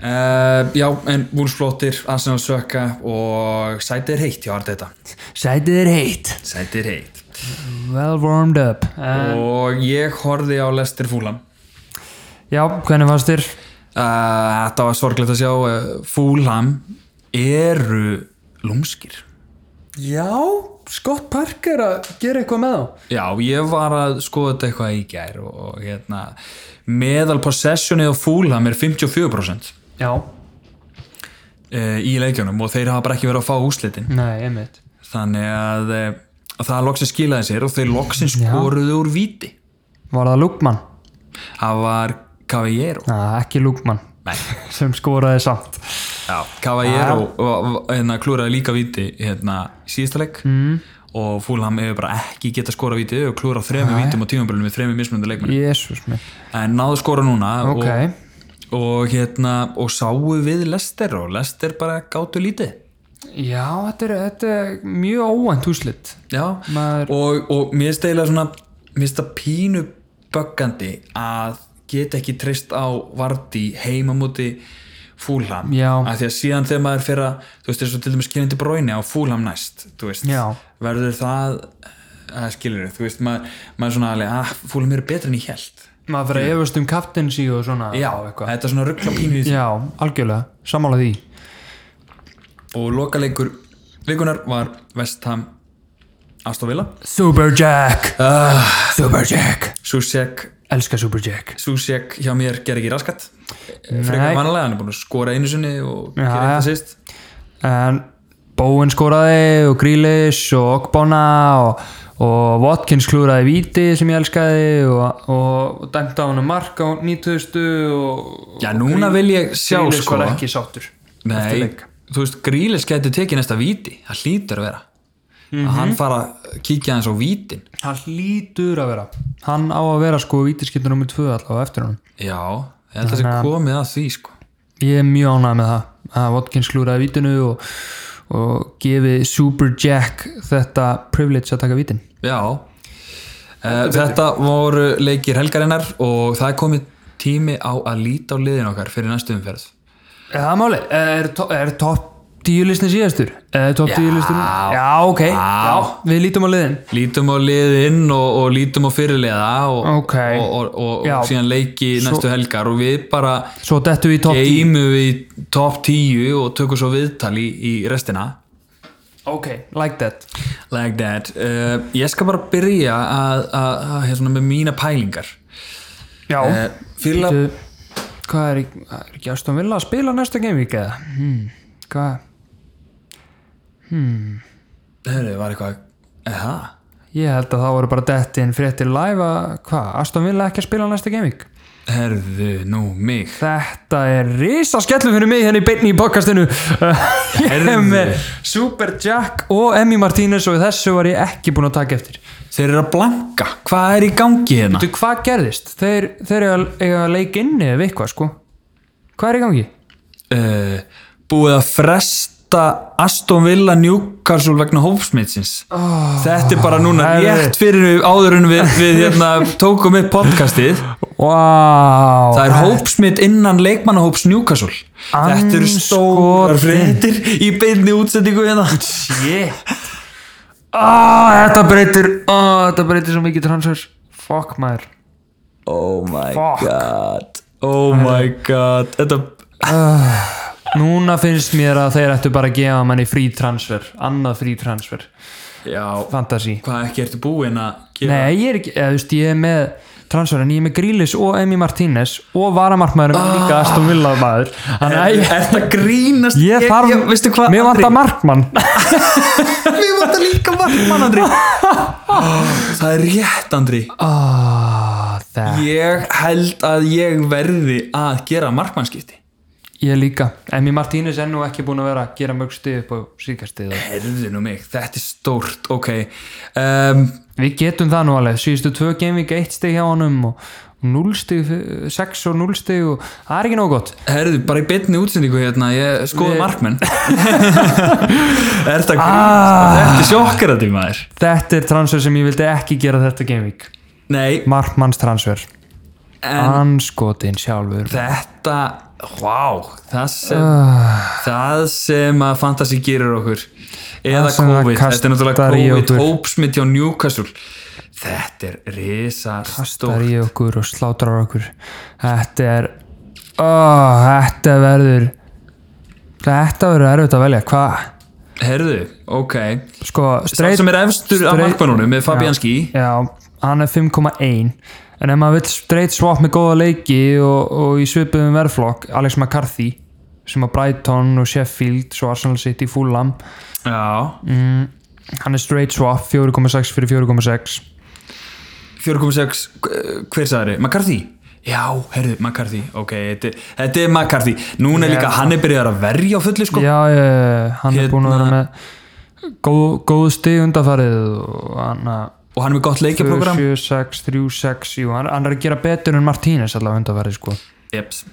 uh, já en Wolves flottir Arsenal sökka og sætið er heitt hjá Arteta Sætið er heitt sætið er heitt Well warmed up uh, og ég horfði á Lester Fúlam Já, hvernig fannst þér? Uh, þetta var sorglegt að sjá uh, Fúlham eru lúmskir Já, Scott Parker að gera eitthvað með þá já, ég var að skoða þetta eitthvað í gær og, og hérna meðal possessionið á Fúlham er 54% Já, uh, í leikjunum og þeir hafa bara ekki verið að fá úslitin nei, einmitt þannig að, uh, að það loksins skilaði sér og þeir loksins skoruðu úr víti Var það Lukman? það var Cavallero Næ, ekki Lukman Nei. sem skoraði samt Já, Cavallero ah. hérna, klúraði líka viti hérna, í síðasta leik mm. og Fúlham hefur bara ekki geta skora viti og klúra þremur vítum á tímabölunum með þremur mismunandi leikmenn Jésús minn en náðu skora núna Ok, og, og, hérna, og sáu við Lester og Lester bara gátu lítið já, þetta er, þetta er mjög óvænt úslit Já, Maður- og, og mér steyla svona mér finnst það pínu böggandi að geta ekki treyst á Vardí heima múti fúlham Já. af því að síðan þegar maður fyrir að þú veist, eins og til dæmis kynninti bróinu á fúlham næst þú veist, Já. verður það að skilur þú veist, maður, maður svona alveg að fúlham eru betra en ég held Maður fyrir að efast um kaptensi og svona Já, eitthvað þetta er svona ruggla pínu í því Já, algjörlega, sammála því og lokaleikur vikunar var Vestham Astovilla Superjack uh. Superjack Susek Elska Superjack Susek hjá mér ger ekki raskat Eh, frekar vanalega, hann er búin að skora einu sinni og Já, gera eitthvað já. sýst en Bowen skoraði og Grealish og Ogbonna og, og Watkins klúraði víti sem ég elskaði og, og, og dæmta á hann mark á 90 og Já, núna vil ég sjá Grealish sko var ekki sáttur eftir Nei, leik. þú veist, Grílis getur tekið næsta víti, það hlýtur að vera Mhm. að hann fara að kíkja hans á vítin hann hlýtur að vera hann á að vera sko vítiskiptur nummer 2 allavega eftir hann Já, ég held að það sé komið að því sko ég er mjög ánægð með það að Watkins klúraði vítinu og, og gefi Super Jack þetta privilege að taka vítin Já Eh, Þetta voru leikir helgarinnar og það er komið tími á að líta á liðin okkar fyrir næstu umferð Er það máli? Er, to er topp tíu listin síðastur? Er topp tíu listin? Já, ok. Já. við lítum á liðin. Lítum á liðin og, og lítum á fyrirliða og, Ok. og, og, og, Já. og síðan leiki næstu helgar og við bara Svo dettu við í topp tíu. geymum við top 10 og tökum svo viðtal í, í restina Ok, like that. like that uh, ég skal bara byrja að, að, að hér svona með mína pælingar Já. uh, fyrir að Þú, hvað er, í- er ekki Aston Villa að spila næsta gamevík eða? Hmm, hvað? Heyrðu, var eitthvað eða Ég held að það voru bara dettin fréttir live að, hvað, Aston Villa ekki að spila næsta gamevík? herðu nú mig Þetta er risa skellum fyrir mig hérna í beinni í podcastinu Ég er með Super Jack og Emmy Martínez og þessu var ég ekki búin að taka eftir þeir eru að blanka, hvað er í gangi hérna Þú, hvað gerðist? Þeir, þeir eiga, eiga leik inni eða eitthvað, sko. Hvað er í gangi? uh, búið að fresta Aston Villa Newcastle vegna hófsmitsins þetta er bara núna herðu. rétt fyrir áður en við, við hérna, tókum upp podcastið Vá! Wow, Það er hópsmitt innan leikmannahóps Newcastle Þetta eru stórar Andskotin. fréttir í beinni útsendingu hérna Shit! þetta breytir, oh, þetta breytir svo mikið transfers. Fuck, maður. Oh my Fuck. god oh my god þetta, Núna finnst mér að þeir ættu bara að gefa manni frí transfer, annað frí transfer já, Fantasí hvað ekki ertu búinn að gera Nei, ég er ekki, eða, þú veist, ég er með transfer en ég er með Grílis og Emi Martínez og varamarkmaður ah. líka Aston Villa maður Þannig að er ég, þetta grínast ég þarf, Ah. ég, veistu hvað mér vantar markmann mér vantar líka vartmann Andri það er rétt Andri oh, Ah, það, ég held að ég verði að gera markmannskipti Ég líka, Emi Martínez er nú ekki búin að vera að gera mörg stið upp á síkastið herðu nú mig, þetta er stórt ok um, Við getum það nú alveg, síðustu tvö gamevík eitt stig hjá honum og 0 stig, 6 og 0 stig og það er ekki nóg gott herðu, bara í beinni útsendingu hérna ég skoði Við- markmenn Ah. er þetta grínast þetta er sjokkrati maður Þetta er transfer sem ég vildi ekki gera þetta gamevík nei, Markmanns transfer, en anskotin sjálfur þetta wow, það sem Ah. það sem að fantasy gerir okkur eða sem það COVID, þetta er náttúrulega kastar í COVID okkur. hópsmitt hjá Newcastle þetta er risastórt Kastar í okkur og slátrar okkur Þetta er oh, Þetta verður Þetta verður erfitt að velja Hvað? Herðu, ok Sko, Það straight sem er efstur af straight- markmannunum er Fabianski Já, hann er 5,1 En ef maður vill straight swap með góða leiki og, og í svipuðum verðflokk Alex McCarthy sem að Brighton og Sheffield svo Arsenal City Fulham Já, hann er straight swap 4,6 fyrir 4,6 4.6 eh, Hver sagði þið? McCarthy? Já, herðu, McCarthy Ok, þetta, þetta er McCarthy Núna er Já. líka, hann er byrjaður að verja á fullu sko Já, ég, hann er búin að vera Hérna- með góð, góð stig undanfarið og hann að og hann er með gott 2, leikjaprogram 7, 6, 3, 6, jú, hann, hann er að gera betur en Martínez allavega undanfarið sko Jeps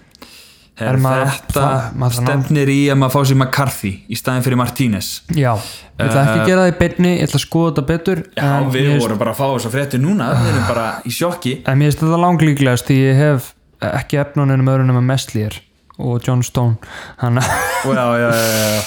Er Her, maður- Þetta það- maður- stefnir í að maður fá sér McCarthy í staðin fyrir Martínez Já, ég ætla ekki að gera það í beinni, ég ætla að skoða þetta betur Eh, Já, en við mér- vorum bara að fá þess að frétti núna Við erum bara í sjokki En mér finnst þetta langlíklegast því ég hef ekki efnunum öðrunum að Messlýr og John Stone hann já, já, já, já, já.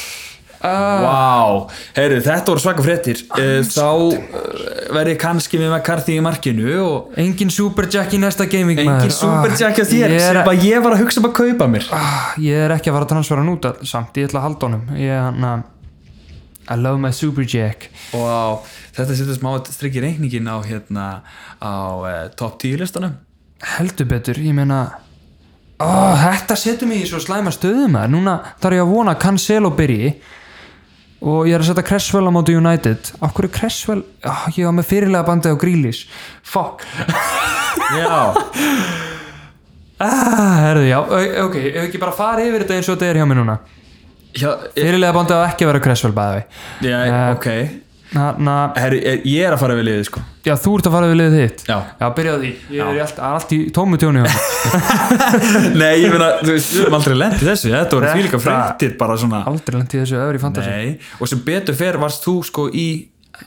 Ah. Vá, heyrðu, þetta voru svaka fréttir Eh, Þá eh, verð ég kannski með McCarthy í markinu og Engin superjack í næsta gaming engin superjack að þér ah, ég sem er, bara ég var að hugsa um að kaupa mér ah, ég er ekki að fara að transfera hann út að- samt, ég ætla að halda honum Ég hann að I love my superjack Vá, þetta setur smá strikki reikningin á hérna á uh, top 10 listanum Heldur betur, ég meina oh, Þetta setur mig í svo slæma stöðum að núna þarf ég að vona að Cancelo byrji og ég er að setja Cresswell á móti United Af hverju Cresswell, oh, ég var með fyrirlega bandið á Grealish Fuck Já, Ah, herðu, já, au- ok, ef ekki bara fara yfir þetta eins og þetta er hjá mér núna já, ég, Fyrirlega bandið á ekki að vera Cresswell bæði eh, já Eh. ok Þannig að, Herru, ég, ég er að fara við liðið sko já, þú ert að fara við liðið þitt Já. Já, byrjaðu því, ég er í allt, allt í tómu tjónu hjá mér Nei, ég meina, þú veist, við erum aldrei lent í þessu Þetta voru því líka Þetta- fréttir bara svona Aldrei lent í þessu öfri fantasi Nei, og sem betur fer varst þú sko í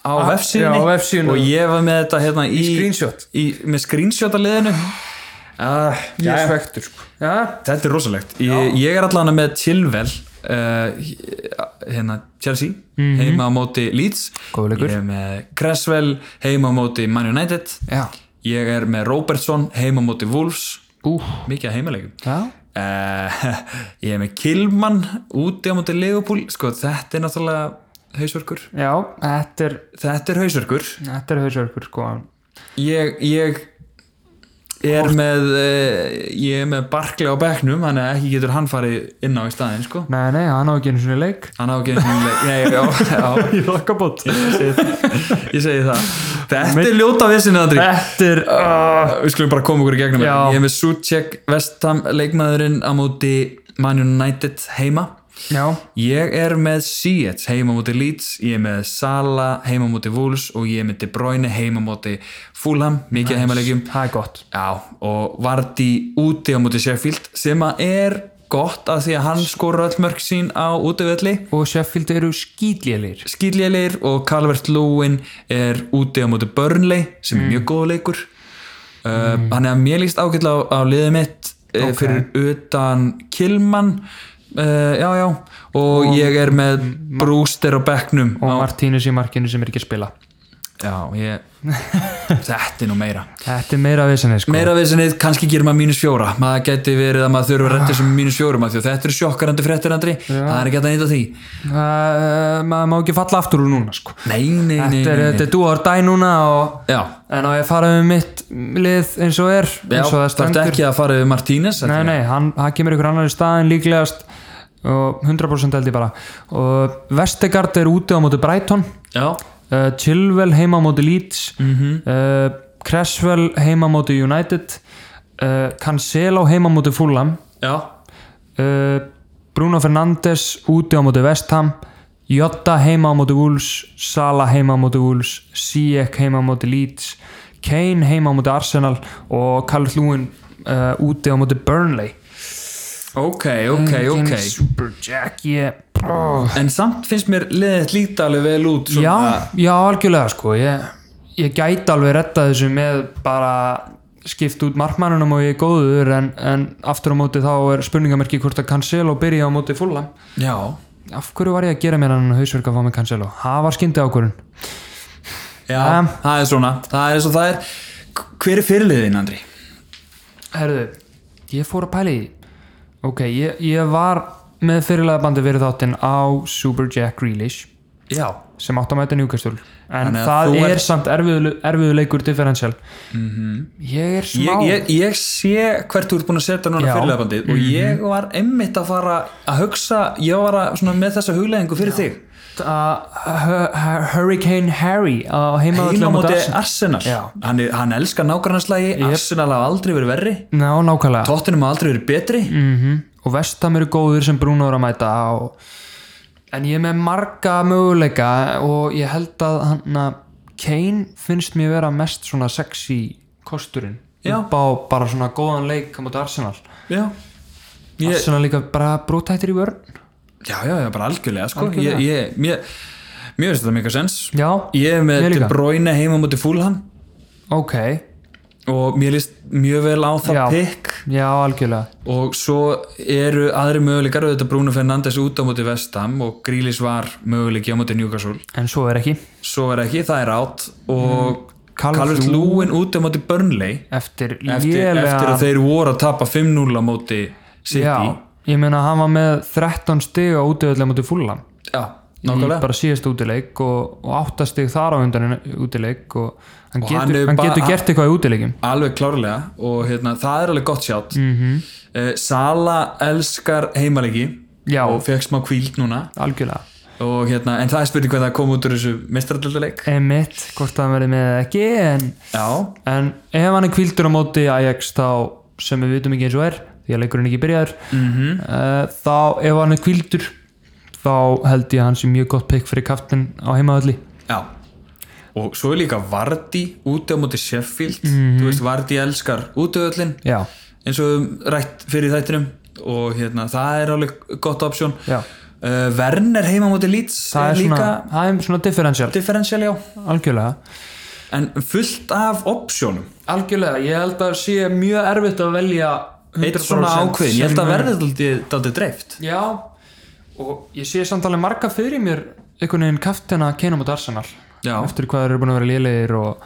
á vefsíðunni Ah, já, á vefsíðunni. og ég var með þetta hérna í, screenshot. í, með screenshot að liðinu uh, svektur, sko Já, þetta er rosalegt ég, ég er allan með Chilwell uh, hérna Chelsea heima á móti Leeds Mhm. Góður leikur. ég er með Cresswell heima á móti Man United já, ég er með Robertson heima á móti Wolves ú, mikið að heimilegum já Uh, ég er með Kilman úti á móti Liverpool sko þetta er náttúrulega hausverkur Já, þetta er, þetta er hausverkur þetta er hausverkur, sko ég, ég er með uh, ég er með barkli á bekknum þannig að ekki getur hann farið inn á í staðin sko Nei, nei, hann á ekki einu svona leik hann á ekki einu sinni leik- Nei, já, já, Í lakkabót ég segi það. ég segi það þetta er ljóta vissinni Andri Ah. Þetta er, uh, við skulum bara koma okkur í gegnum Já. þetta. ég er með Suchek Vestham leikmaðurinn á móti Man United heima já, Ég er með Seeds heima á móti Leeds, ég er með Sala heima á móti Wolves og ég er með De Bruyne heima á móti Fulham, mikið nice. heimalegjum. það er gott Já, og Vardy úti á móti Sheffield sem að er gott að því að hann skorur öll mörg sín á útivelli. Og Sheffield eru skýtlélir Skýrlélegir og Calvert Lewin er úti á móti Burnley sem Mm. er mjög góð leikur. Uh, Hann er að mér líst ágætlega á, á liðið mitt okay. Ok. fyrir utan Kilman. Uh, já, já, og, ég er með Brewster á bekknum og á Martínez í markinu sem er ekki að spila Já, ég þetta er nú meira Þetta er meira vissinni sko meira veisinnið, kannski gerir maður mínus fjóra maður geti verið að maður þurfa að redda sem mínus fjórum af því að þetta eru sjokkarandi fréttir andri það er ekki hægt að nýta því uh, Maður má ekki falla aftur úr núna sko nei, nei, nei, Þetta er, nei, þetta er dúar dæ núna og Já, en á ég að fara með mitt lið eins og er já eins og það þarftu stendur ekki að fara yfir Martínez þetta Nei, er- nei, hann, hann kemur ykkur annar í staðin líklegast og 100% held ég bara og Vestegard er úti á móti Brighton Já, uh, Chilwell heima á móti Leeds mhm uh, Cresswell heima á móti United uh, Cancelo heima á móti Fulham já, uh, Bruno Fernandes úti á móti Vestham Jota heima á móti Wolves Sala heima á móti Wolves Siek heima á móti Leeds Kane heima á móti Arsenal og Karl Lúin uh, úti á móti Burnley ok, Mm, ok, ok Super Jack ég, oh. en samt finnst mér liðið líta alveg vel út já, já, algjörlega sko ég, ég gæti alveg retta þessu með bara skipt út markmannunum og ég er góður en, en aftur á móti þá er spurningamerki hvort að Cancelo byrja á móti fullam já, af hverju var ég að gera mér hann hausverk að fá mig Cancelo það var skyndi ákvörun já Um, það er svona, það er eins og það er K- hver er fyrirliðin Andri? herðu, ég fór að pæla í því. ok, ég, ég var með fyrirlega bandi verið þáttinn á Super Jack Grealish já, sem átt að mæta Newcastle en Þannig að það þú er ert- samt erfiðu, erfiðu leikur differential Mhm. ég er smá ég, ég, ég sé hvert þú ert búin að setja núna Já. Mhm. fyrirliðabandið og ég var einmitt að fara að hugsa, ég var að, svona, með þessa hugleðingu fyrir þig uh, Hu- Hu- Hurricane Harry á heima heimavöllum á móti Arsenal Arsenal. Já. hann, er, hann elskar nákvæmnarslægi, Arsenal hafa aldrei verið verri Ná, nákvæmlega Tottenham hafa aldrei verið betri mm Mhm. og vestam eru góðir sem Bruno er að mæta og... en ég er með marga möguleika og ég held að hann að Kane finnst mér vera mest svona sexy kosturinn Já. upp á bara svona góðan leik á móti Arsenal já Ég- Arsenal líka bara brotættir í vörn Já, já, já, bara algjörlega, sko. Algjörlega. Ég, ég, mér, mér finnst þetta mikil sens. já, Ég er með Ég líka. De Bruyne heima mútið Fulham ok og mér líst mjög vel á það Já. pikk já, algjörlega og svo eru aðri möguleikar auðvitað Bruno Fernandes út á mútið Vestam og Grílis var möguleiki á mútið Newcastle. en svo er ekki Svo er ekki, það er átt og mm. Calvert Calvert Lúin út á mútið Burnley eftir, eftir, eftir að þeir voru að tapa 5-0 á mútið City. já, ég meina hann var með 13 stig á útivöldlega mútið fullam já í nákvæmlega. bara síðast útileik og, og áttastig þar á undan í útileik og hann Og getur, hann hann hefur bara- getur gert eitthvað í útileikum Alveg klárlega og hérna, það er alveg gott sjátt mm Mhm. Sala elskar heimalegi Já. og fekk smá kvíld núna algjörlega, og, hérna, en það er spurning hvað það kom út úr þessu mestrarölduleik emitt hvort það verði með eða ekki en, Já, en ef hann er kvildur á móti Ajax þá sem við vitum ekki eins og er því að leikurinn er ekki byrjaður -hmm. þá ef hann er kvildur þá held ég að hann sé mjög gott pikk fyrir kaftin á heimaðalli já og svo er líka Vardi úti á móti Sheffield Mhm. þú veist Vardi elskar útöðullin já, eins og við höfum rætt fyrir þættinum og hérna, það er alveg gott option Já. uh, Werner heima á móti Leeds það er, líka svona, það er svona differential differential já algjörlega en fullt af optionum Algjörlega, ég held að sé mjög erfitt að velja eitt svona ákveðin, ég held að verði þetta dreift Já, og ég sé samt alveg marga fyrir mér einhvern veginn kaftina Kane á móti Arsenal Já. eftir hvað þeir eru búin að vera lélegir og,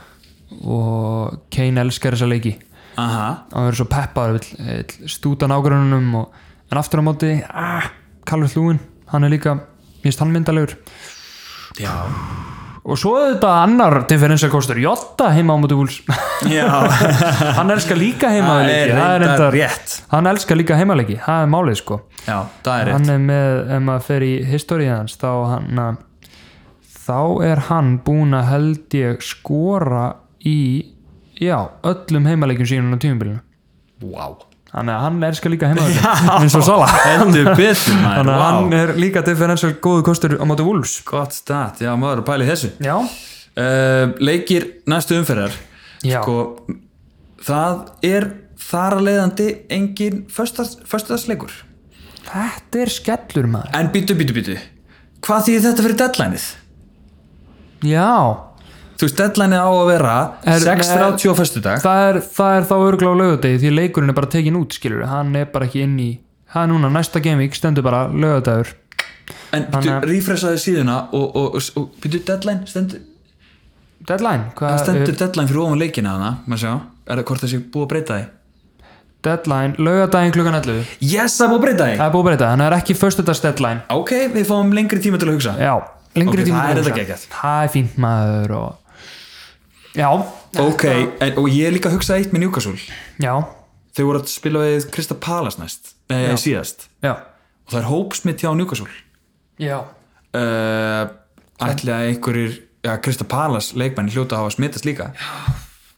og Kane elskar þessa leiki Aha. og hann verður svo peppaður vill, vill stúta nágrununum og, en aftur á móti ah, Calvert Lúin, hann er líka mér finnst hann myndalegur Já. og svo er þetta annar differensakostur Jotta heima á móti Wools hann elskar líka heima það er enda rétt hann elskar líka heimaleiki, það er málið sko já, það er rétt hann er með, ef maður fer í históriðið hans þá hann að þá er hann búin að held ég skora í já, öllum heimaleikjum sínum á tímubilinu wow. þannig að hann elskar líka heimaleiki eins og Sala heldur betur maður þannig að wow. hann er líka differential góðu kostur á móti Wolves gott stat, já maður er að pæli þessu já, uh, leikir næstu umferðar Já. sko það er þar að leiðandi engin föstudagsleikur þetta er skellur maður en býtu, býtu, býtu hvað þýðir þetta fyrir deadlineið? já, þú veist, deadlineið á að vera Er- 6.30 á föstudag það er, það er þá örgla á lögadegi því leikurinn er bara tekin út skilur hann er bara ekki inn í hann núna næsta gaming stendur bara lögadagur En byrju, Þannig að- refreshaði síðuna og, og, og, og byrju deadline stendur deadline Það hvað, stendur deadline fyrir ofan leikina hana, maður sjá, er það hvort það sé búið að breyta því? deadline, laugardaginn klukkan 11 Yes, það er búið að breyta því! það er búið að breyta, þannig að það er ekki föstudags deadline Ok, við fáum lengri tíma til að hugsa. já, lengri Ok, það tíma er til að þetta hugsa. geggjað. það er fínt maður og já, Ok, en, og ég er líka að hugsa eitt með Newcastle. já, Þau voru að spila við Krista Palas næst, nei, síðast. já Og það er hópsmitt hjá Newcastle. já, Uh, ætli að einhverjir, ja, Krista Palas leikmenn hljóta að hafa smittast líka.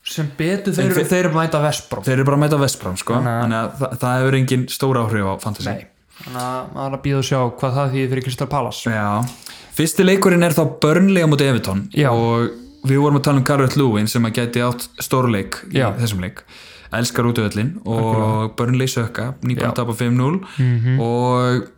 sem betur þeir, En þeir, þeir eru mæta vespró Þeir eru bara að mæta Vestbram, sko. Þannig að það, það hefur engin stóra áhrif á fantasy. Nei. þannig að maður er að býða og sjá hvað það þýðir fyrir Crystal Palace Já, fyrsti leikurinn er þá Burnley á móti Everton Já. og við vorum að tala um Garrett Lewin sem að gæti átt stórleik í Já. þessum leik elskar útöðlin og Burnley sökka, nýbúin að Já. Mhm. tapa 5-0 og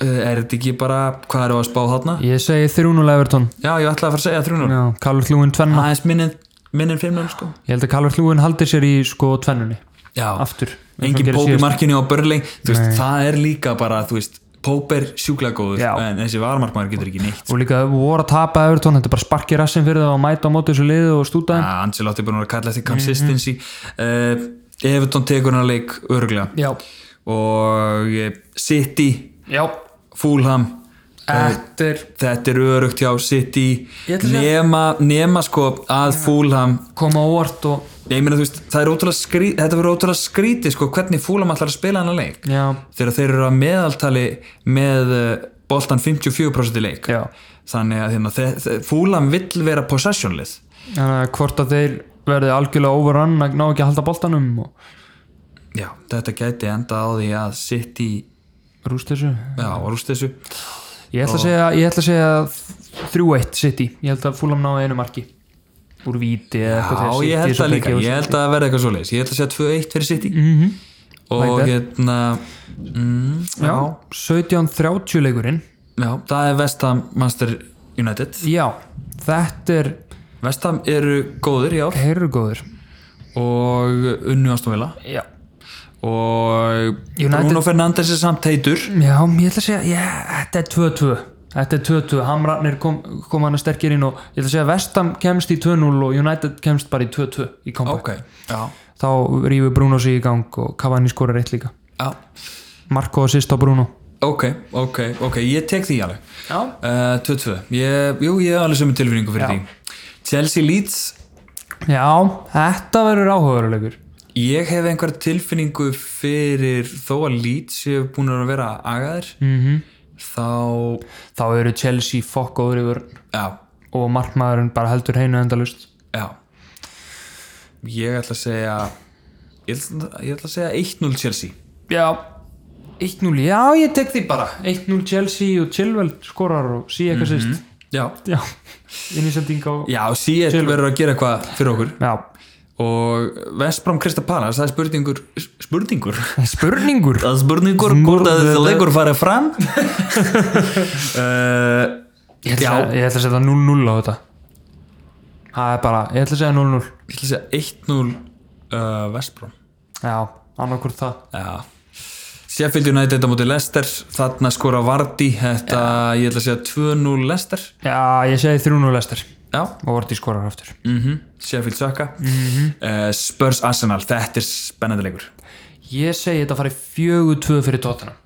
eh, er þetta ekki bara hvað eru að spá þarna? ég segi 3-0 Everton Já, ég ætlaði að fara að segja 3-0 já, Kallur Hlúin tvenna aðeins minninn minnin 5-0 sko ég held að Kallur Hlúin haldir sér í sko tvennunni Já, aftur eins og engin um hann gerir Póp í síðast. markinu á Burnley þú veist, það er líka bara, þú veist Póp er sjúklega góður, Já. en þessi varmarkmaður getur ekki neitt og líka þau voru að tapa Everton þetta er bara sparki rassin fyrir það og mæta á móti þessu liðu og stúta þeim Ja, Ah, Ancelotti er búin að kalla eftir consistency uh, Everton tekur hann að leik örglega Mhm. já, og eh, City já, Fulham uh, þetta er þetta er örugt hjá City Ah. Ég ætla að segja- nema, nema sko að Fulham koma á óvart og ég meina þú veist, það er ótrúlega skrítið þetta verður ótrúlega skrítið sko hvernig Fulham ætlar að spila hann að leik já, þegar þeir eru að meðaltali með eh, boltan 54% í leik Já. þannig að hérna, þe- þe- Fulham vill vera possessionlið þannig að hvort að þeir verði algjörlega overrun að ná ekki að halda boltanum og já, þetta gæti enda á því að City rúst þessu Já, og rúst þessu ég ætla að segja, ég ætla að segja 3-1 City, ég held að Fulham náði einu marki úr víti eða eitthvað Já, þegar City ég held svo það líka, tekið á ég sig. held að það verði eitthvað svoleiðis Ég held að segja 2-1 fyrir City Og Like that. hérna mm, já. já, 17-30 leikurinn já, það er Vestham Manchester United já, þetta er Vestham eru góðir, já heyrur góður Og unnu ástumvila já, Og United- Bruno Fernandes er samt heitur Já, ég ætla að segja, já, þetta er 2-2 Þetta er 2-2, Hamrarnir kom, kom hann að sterkir inn og ég ætla að segja að Vestam kemst í 2-0 og United kemst bara í 2-2 í kompa. Ok, já, Þá rýfur Bruno sig í gang og Cavani skorar eitt líka. já Marko og sýst á Bruno. Ok, ok, ok, ég tek því alveg Já. Eh, 2-2, ég, jú, ég hef alveg sömu tilfinningu fyrir Já. því Chelsea Leeds Já, þetta verður áhugaðurlegur. Ég hef einhver tilfinningu fyrir þó að Leeds séu búin að vera agaðir -hmm. þá, Þá eru Chelsea fokk óður yfir já, og markmaðurinn bara heldur heinu endalust. já ég ætla að segja ég ætla, ég ætla að segja 1-0 Chelsea Já. 1-0, já, ég tek því bara. 1-0 Chelsea og Chilwell skorar og síða eitthvað mm sýst. já, Já, innisending á... Mhm. já síðan verður að gera eitthvað fyrir okkur Já, og Vestbrom Krista Palas það er spurningur, spurningur Spurningur það er spurningur hvort að þessi leikur farið fram uh, Ég ætla, já, að- ég ætla að setja 0-0 á þetta Það er bara, ég ætla að segja 0-0 ég ætla að segja 1-0 uh, Vestbrom Já, annarkvort það Já Sheffield United á móti Leicester þarna skora Vardy þetta ég ætla að segja 2-0 Leicester Já, ég segi 3-0 lestir Já og vorti skorar aftur mm Sheffield Saka mm Mhm. Spurs Arsenal þetta er spennandi leikur Ég segi þetta farið 4-2 fyrir tóttina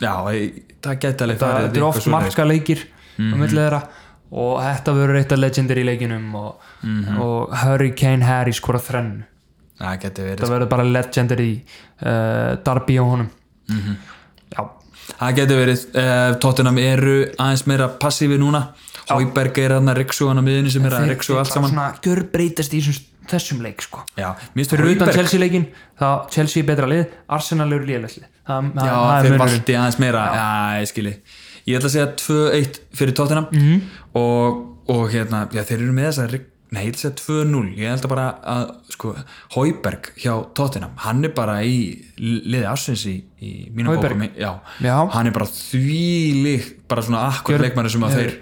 Já ég- það gæti alveg farið Þetta er eitthvað oft svoleiðis. marka leikir á milli þeirra og þetta verður eitt af legendir í leikinum og, og Hurricane Harry skora þrennu Það gæti verið Þetta verður bara legendir í uh, Darby á honum Mhm. Já, Það gæti verið uh, Tottenham eru aðeins meira passífi núna Hauberg er hann að Riksu hann á miðinni sem er að Riksu allt saman svona gjörbreytast í þessum, þessum leik sko Já, minnst fyrir utan Hauberg Chelsea leikin þá Chelsea er betra lið, Arsenal eru liðlega lið það, það- Já, það er þeir munurinn. valdi aðeins meira Já, ég skilji Ég ætla að segja 2-1 fyrir Tottenham Mhm. -hmm. og, og hérna, já, þeir eru með þess að Nei, ég ætla að segja 2-0 Ég held að bara að, sko, Hauberg hjá Tottenham, hann er bara í liði ársins í, í mínum Højbjerg? bókum já, Já. hann er bara þvílík bara svona akkur leikmæri sem að þeir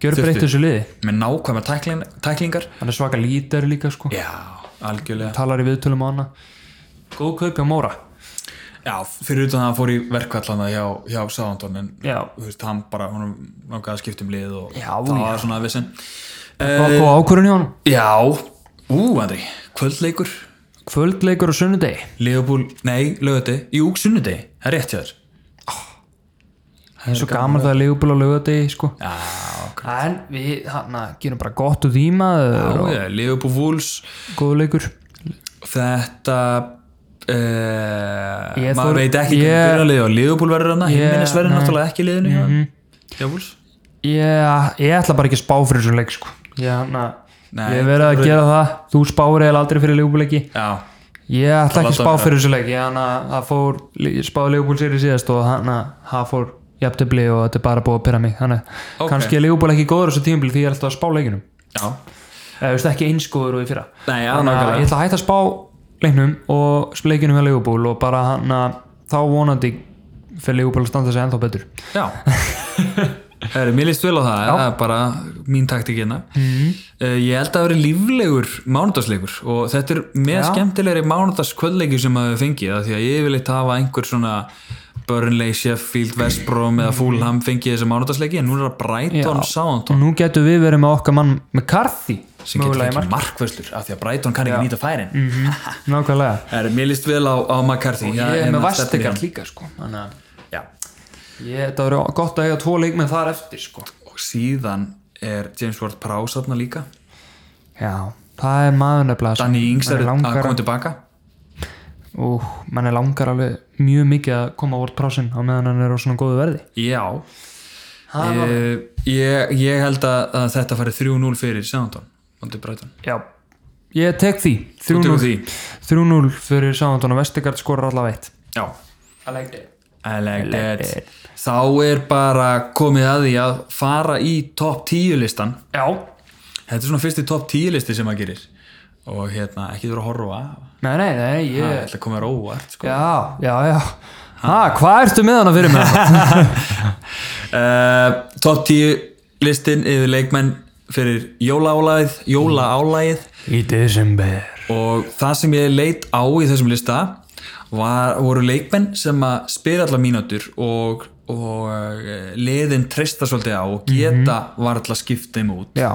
gjörbreytt þurftu. þessu liði með nákvæmar tækling, tæklingar hann er svaka lítar líka sko Já, algjörlega talar í viðtölum á hana góð kaup hjá Móra já, fyrir utan að hann fór í verkvallana hjá, hjá Sándon en Já. þú veist, hann bara, hann langaði að skipta um lið og Já, það já. var svona vissin Það uh, var ákvörun hjá hann Já, ú, Andri kvöldleikur, Kvöldleikur á sunnudegi Leopold, nei, lögati jú, sunnudegi, það er rétt hjá þér Það er svo gaman það að leigubíl á laugardegi sko. Já, ok En við hann gerum bara gott úr því maður og Já, Leopold Wools góðu leikur þetta uh, Ég maður þor- veit ekki ég- hvernig byrjarlið og Leopold verður hana, Ég- Jimenez verður nei. Mhm. náttúrulega ekki í liðinu mm -hmm. Já, Wools ég, ég ætla bara ekki að spá fyrir þessum leik sko. Ég hann Nei, Ég hef verið að gera það Þú spáir eða aldrei fyrir leigubíleiki Já, Ég ætla ekki að Láta spá vera. fyrir þessu leik Ég hann að fór ég spáði leigubíl sér í síðast og hann að það fór jafntefli og þetta er bara búið að pyrra mig Þannig Ok. okay. kannski er leigubíl ekki góður á þessu tímbil því ég er alltaf að spá leikinum já eða þú veist ekki einskóður og í fyrra Nei, já, Þannig að nákvæmlega. ég ætla að hætta að spá leiknum og leikinu með leigubúl og bara hann að þá vonandi fyrir leigubúl að standa sig ennþá betur Já Herri, mér líst vel á það, það er bara mín taktikina Mhm. mm. Ég held að það veri líflegur mánudagsleikur og þetta er með Já. skemmtilegri mánudagskvöldleiki sem maður hefur fengið af því að ég vil eitt hafa einhver svona Burnley, Sheffield, West Brom Mhm. eða Fulham fengið þessi mánudagsleiki en nú er það Brighton, Sound og nú getum við verið með okkar mann McCarthy sem getur mögulega í fengið markvörslur af því að Brighton kann ekki nýta færin mm. mark. nákvæmlega Herri, mér líst vel á, á McCarthy Já, ég er en með að stefna í vastekart hann. líka sko þannig að Já, ég, þetta verður gott að eiga tvo leikmenn þar eftir sko og síðan er James Ward Prowse þarna líka já það er maður nefnilega sem- Danny Ings mann er að langar koma tilbaka og mann er langar alveg mjög mikið að koma á vortprásin á meðan hann er á svona góðu verði Já Það ég, ég, ég held að, að þetta fari 3-0 fyrir Soundon Monty Brighton já ég tek því Þú 3-0. tekur því 3-0 fyrir Sándon og Vestegard skorar allavega eitt Já I like it I like like that. it. Þá er bara komið að því að fara í topp 10 listan Já, Þetta er svona fyrsti topp 10 listi sem maður gerir og hérna, ekki þú eru að horfa nei, nei, nei, ég það ætla að koma þér óvart sko. Já, já, já Ha, hvað ertu með hana fyrir mig? uh, Topp 10 listin yfir leikmenn fyrir jólaálæð jólaálæð Í desember og það sem ég leit á í þessum lista var, voru leikmenn sem að spila allar mínútur og, og eh, liðin treysta svolítið á og geta varla skipt þeim út Já,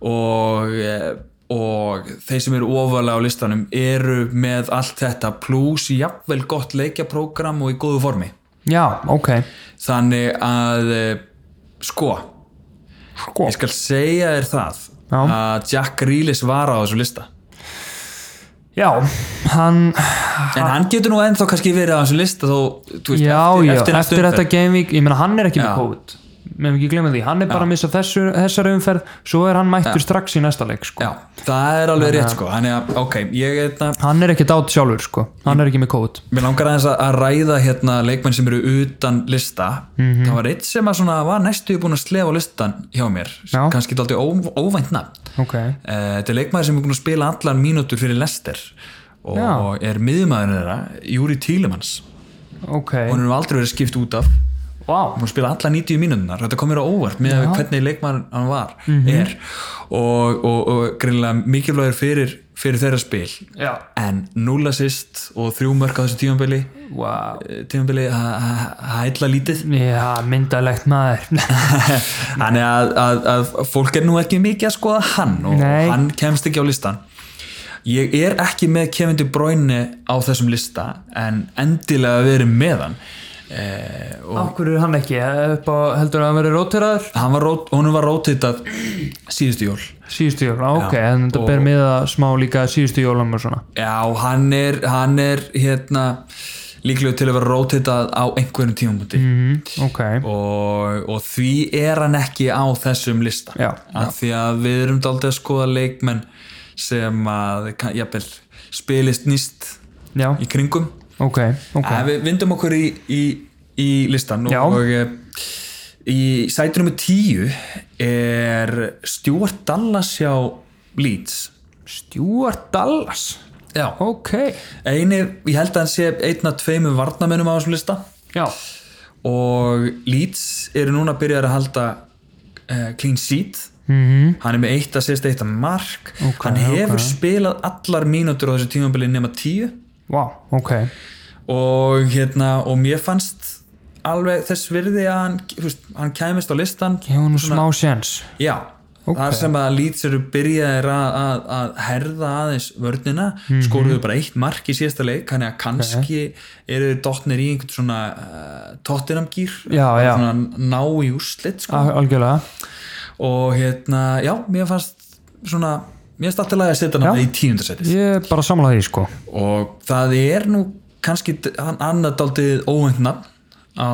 og, eh, og þeir sem eru ofalega á listanum eru með allt þetta pluss jafnvel gott leikjaprógram og í góðu formi já, ok þannig að eh, sko, Sko ég skal segja þér það Já. að Jack Grealish var á þessum lista Já, hann En hann getur nú ennþá kannski verið á þessum lista þó, þú veist, Já, já, eftir, næstu þetta umferð. gamevík Ég meina, hann er ekki Já. með COVID Meðum ekki glemma því, hann er bara að missa þessu, þessari umferð Svo er hann mættur strax í næsta leik sko. Já, það er alveg rétt sko, þannig að, ok, ég hérna, Hann er ekki dát sjálfur, sko Hann er ekki með COVID mér langar aðeins að- að ræða hérna leikmenn sem eru utan lista, Mhm. það var eitt sem að svona var næstu búin að slefa á listan hjá mér, Já. kannski dálítið ó- óvænt nafn. Ok, Eh, Þetta er leikmaður sem er búin að spila allar mínútur fyrir Lester og Já. er miðmaður þeirra, Júri Tílemans, ok hún er nú aldrei verið skipt út af. Vá, hún spila alla 90 mínúturnar þetta kom mér á óvart með að hvernig leikmann hann var er og, og, og greinlega mikilvægur fyrir, fyrir þeirra spil já, en núla sýst og þrjú mörk á þessu eh, tímanbili vá tímanbili hætla lítið Já, myndalegt maður þannig að, að, að fólk er nú ekki mikið að skoða hann og Nei. hann kemst ekki á listan ég er ekki með Kevin De Bruyne á þessum lista en endilega verið með hann eh, og Akkur er hann ekki, Eh, upp á, heldur að hann verið róteraður? hann var, rót- honum var rótitað síðustu jól Síðustu jól, á, ok, Já, en þetta og- ber með að smá líka síðustu jólum og svona Já, hann er, hann er hérna líklegur til að vera rótitað á einhverjum tímapunkti mm, Ok, og, og því er hann ekki á þessum lista Já, af því að við erum daldið að skoða leikmenn sem að kann- jafnvel, spilist nýst já, í kringum ok, ok okay. Við vindum okkur í, í, í listan og, Já. og eh, í sætunum 10 er Stuart Dallas hjá Leeds Stuart Dallas, Já, ok Einu, ég held að hann sé einn af tveimum varnamennum á þessum lista Já, og Leeds eru núna byrjar að halda uh, clean sheet Mhm. hann er með eitt að sést eitt að mark Ok, hann hefur ok. spilað allar mínútur á þessu tímabili nema tíu vá, ok og hérna og mér fannst alveg þess virði að hann, þú veist, hann kæmist á listan Hefur nú smá séns já, Ok. þar sem að Leeds eru byrjaðir að, að, að herða aðeins vörnina, Mhm. skoruðu bara eitt mark í síðasta leik, þannig að kannski eru þau dottnir í einhvern svona uh, tottenamgýr Já, já. Ah. svona ná í úrslit sko. Al- algjörlega og hérna, já, mér fannst svona, mér fannst alltaf að setja hann Já. í tíundarsætið ég er bara samlaði því sko og það er nú kannski d- hann annað daldið óvænt nafn á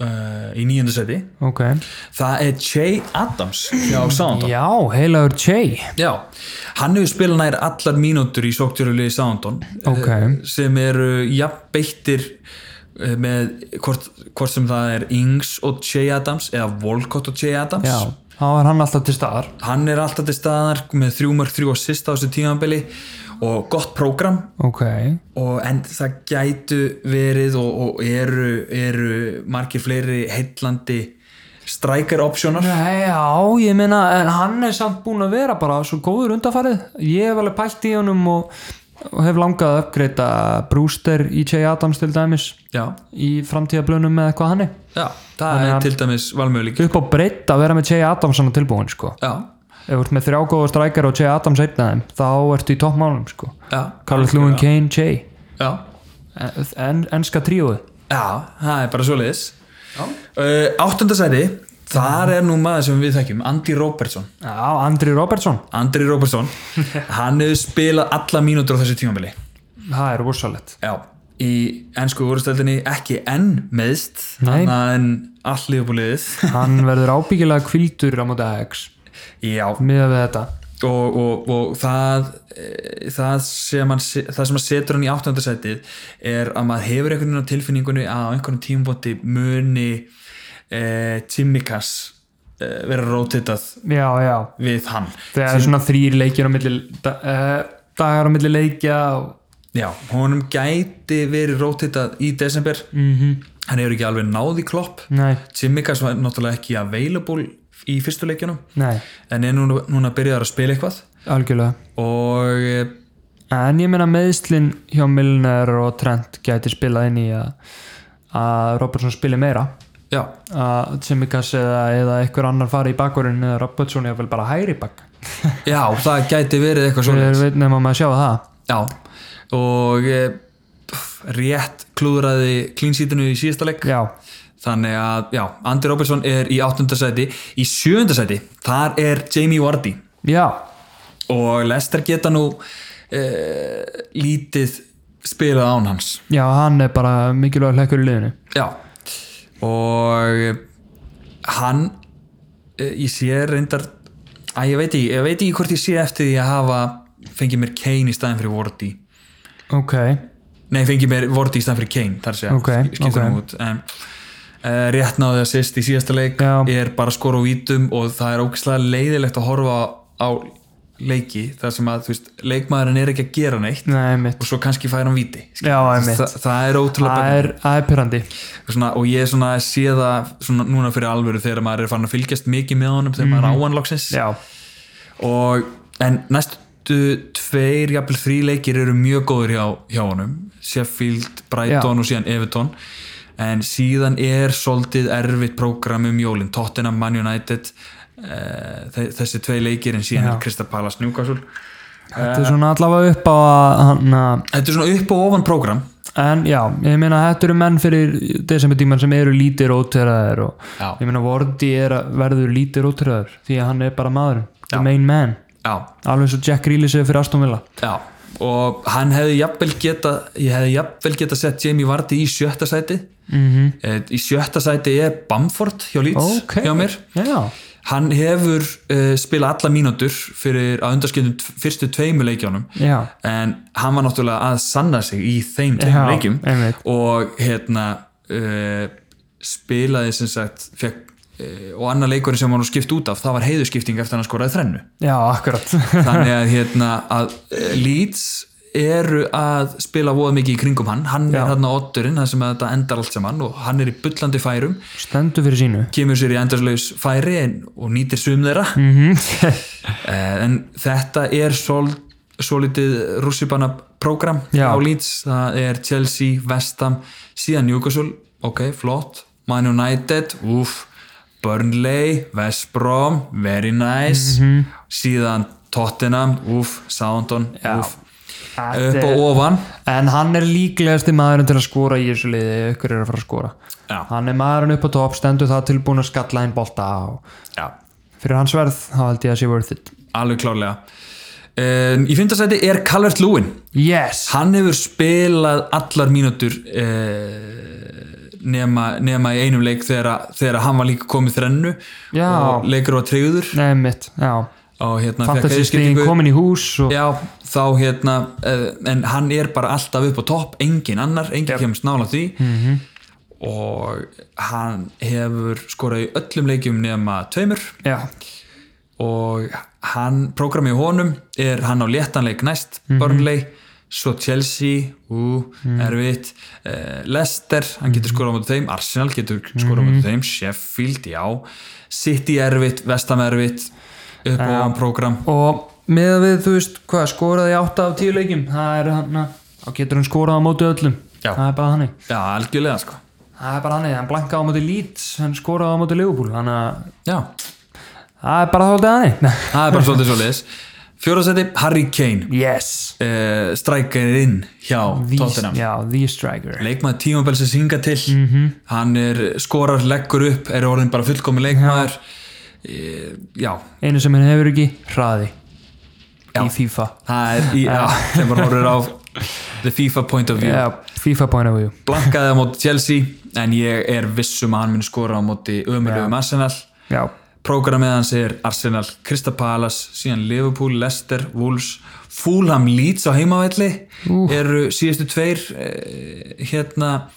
uh, í nýjöndarsæti ok það er Jay Adams hjá Soundon já, heilagur Jay já, hann hefur spilað nær allar mínútur í sóktjörulegi Soundon Ok. sem eru jafn beittir eh, með hvort, hvort sem það er Ings og Jay Adams eða Volcott og Jay Adams já, þá er hann alltaf til staðar hann er alltaf til staðar með þrjúmörk þrjú og sista á þessu tímanbili og gott prógram ok, og en það gætu verið og, og eru, eru margir fleiri heitlandi striker optionar Nei, já, ég meina en hann er samt búin að vera bara svo góður undanfarið ég hef alveg pælt í honum og, og hef langað að uppgreita Brewster í Jay Adams til dæmis já, í framtíðablönum með eitthvað hann er já, það er til dæmis valmöðlík upp á breytt að vera með Jay Adams hann tilbúin sko já, ef þú ert með þrjá góða strækjar og Jay Adams einn af þeim þá ertu í toppmálum sko já, Carlos Lewin, Kane, Jay já, en, en, enska tríóið já það er bara svoleiðis uh, áttundasæti, þar er nú maður sem við þekkjum, Andy Robertson já, Andri Robertson, Andri Robertson, hann hefur spilað alla mínútur á þessu tímanbili það er vorsalett já, í ennsku úrstöldinni ekki enn meðst Nei. annað en allt liðbúliðið hann verður ábyggilega kvildur á móti Ajax já, miðað við þetta og, og, og það, eh, það, sem hann, se- það sem að setur hann í áttundasætið er að maður hefur einhvern veginn á tilfinningunni að á einhvern tímabóti muni e, Timmikas e, vera rótitað já, já, við hann þegar það er svona þrýr leikir á milli da, uh, dagar á milli leikja og, Já, honum gæti verið rótitað í desember -hmm. hann hefur ekki alveg náð í klopp nei, Timmikas var náttúrulega ekki available í fyrstu leikjunum nei, en er núna, núna byrjaðar að spila eitthvað algjörlega og eh, en ég meina meðslinn hjá Milner og Trent gæti spilað inn í að, að Robertson spili meira já, að Tsimikas eða, eða einhver annar fari í bakkurinn eða Robertson eða vel bara hæri bakk já, það gæti verið eitthvað svo við veitum að maður sjá það Já, og eh, pff, rétt klúðraði klínsítinu í síðasta leik já, þannig að, já, Andy Robertson er í áttundasæti, í sjöundasæti þar er Jamie Vardy já, og Lester geta nú eh, lítið spilað án hans já hann er bara mikilvæg hlekkur í liðinu Já, og eh, hann eh, ég sé reyndar að ég veit ekki, ég veit ekki hvort ég sé eftir því að hafa fengið mér Kane í staðin fyrir Vardy ok, Nei, fengið mér Vorti í staðan fyrir Kane þar að segja, Ok, okay, skiltur ok. hann út en, uh, rétt náði að sýst í síðasta leik Já. er bara skor á vítum og það er ógæslega leiðilegt að horfa á leiki þar sem að þú veist, leikmaðurinn er ekki að gera neitt nei mitt og svo kannski fær hann víti skilur. já, einmitt, Þa, það er ótrúlega það bæðið er, það er pyrrandi svona, og ég svona sé það svona, núna fyrir alvöru þegar maður er farin að fylgjast mikið með honum þegar maður er áanlóksins já, og, en næstu tveir, jafnvel þrý leikir eru mjög góður hjá, hjá honum Sheffield, Brighton og síðan Everton en síðan er svolítið erfitt prógram um jólin Tottenham, Man United eh, þe- þessi tvei leikir en síðan Já. er Krista Palace, Newcastle þetta er svona allavega upp á að hann að Þetta er svona upp og ofan prógram En já, ég meina þetta eru menn fyrir desembertíman sem eru lítið róteraðir og Já. ég meina Vorti er að verður lítið róteraður því að hann er bara maður, the Já. main man Já, alveg eins og Jack Grealish er fyrir Aston Villa já og hann hefði jafnvel geta ég hefði jafnvel geta sett Jamie Vardy í sjötta sæti mm -hmm. í sjötta sæti er Bamford hjá Leeds Ok. hjá mér Já, Hann hefur uh, spilað alla mínútur fyrir að undarskiptum t- fyrstu tveimu leikjánum já, en hann var náttúrulega að sanna sig í þeim tveim Já, leikjum einmitt. og hérna uh, spilaði sem sagt fekk, uh, og annar leikurinn sem hann var nú skipt út af það var heiðuskipting eftir að hann skoraði þrennu já, akkurat þannig að hérna að eh, Leeds eru að spila voða mikið í kringum hann hann Já. er hann á otturinn, það sem að þetta endar allt saman og hann er í bullandi færum Stendur fyrir sínu kemur sér í endarslaus færi en, og nýtir sum þeirra mm Eh, en þetta er svolítið svolítið rússipanna program Já. á Leeds, það er Chelsea, West Ham síðan Newcastle, ok, flott Man United, úff Burnley, West Brom very nice, síðan Tottenham, úff, Soundon úff, upp og ofan En hann er líklegasti maðurinn til að skora í þessu liði ef ykkur er að fara að skora Já. Hann er maðurinn upp á topp, stendur það tilbúin að skalla einn bolta og já, fyrir hans verð þá held ég að sé worth it alveg klárlega um, í fymtasæti er Calvert Lewin Yes! hann hefur spilað allar mínútur eh, nema, nema í einum leik þegar, að- þegar að hann var líka komið þrennu Já. og leikur var treyður Nei mitt, já og hérna fékk Fantasy stíðin eyðiskiptingu. komin í hús og já, þá hérna eh, en hann er bara alltaf upp á topp engin annar, engin kemst nála því Mhm. -hmm. og hann hefur skorað í öllum leikjum nema tveimur Já, og hann, prógrami í honum er hann á léttanleik næst Burnley, svo Chelsea ú, erfitt uh, Leicester, hann getur skorað á móti þeim Arsenal getur skorað á móti þeim Sheffield, já, City erfitt Vestam erfitt, upp og ofan prógram og með við, þú veist, hvað, skoraði átta af tíu leikjum það er hann að, þá getur hann skorað á móti öllum Já. það er bara hannig já, algjörlega sko það er bara hannig, hann blankaði á móti Leeds hann skoraði á móti Liverpool þannig að já, það er bara þáttið hannig það er bara svolítið svolítið fjóraðsæti, Harry Kane Yes uh, strækirinn hjá The- Tottenham Já, The Striker leikmaður tímabell sem synga til hann er skorar, leggur upp er orðin bara fullkomi leikmaður e, já, einu sem hann hefur ekki, hraði í FIFA það er í, já, þegar maður horfir á the FIFA point of view Já, FIFA point of view blankaði á móti Chelsea en ég er vissum að hann mun skora á móti ömurlegum Arsenal Já, prógramið hans er Arsenal, Krista Palace síðan Liverpool, Leicester, Wolves Fulham Leeds á heimavelli eru síðustu tveir eh, hérna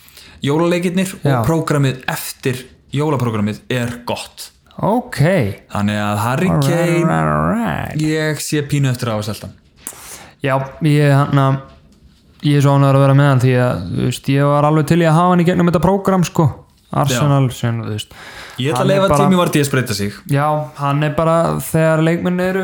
jóluleikirnir Já. og prógramið eftir jólaprógramið er gott ok Þannig að Harry All right, all Kane right, all right. ég sé pínu eftir á að selta hann. Já, ég hann að ég er svo ánægður að vera með hann því að þú veist, ég var alveg til í að hafa hann í gegnum þetta prógram sko, Arsenal sem, þú veist Ég ætla Hann að er leifa bara- tími var til að spreita sig Já, hann er bara þegar leikmenn eru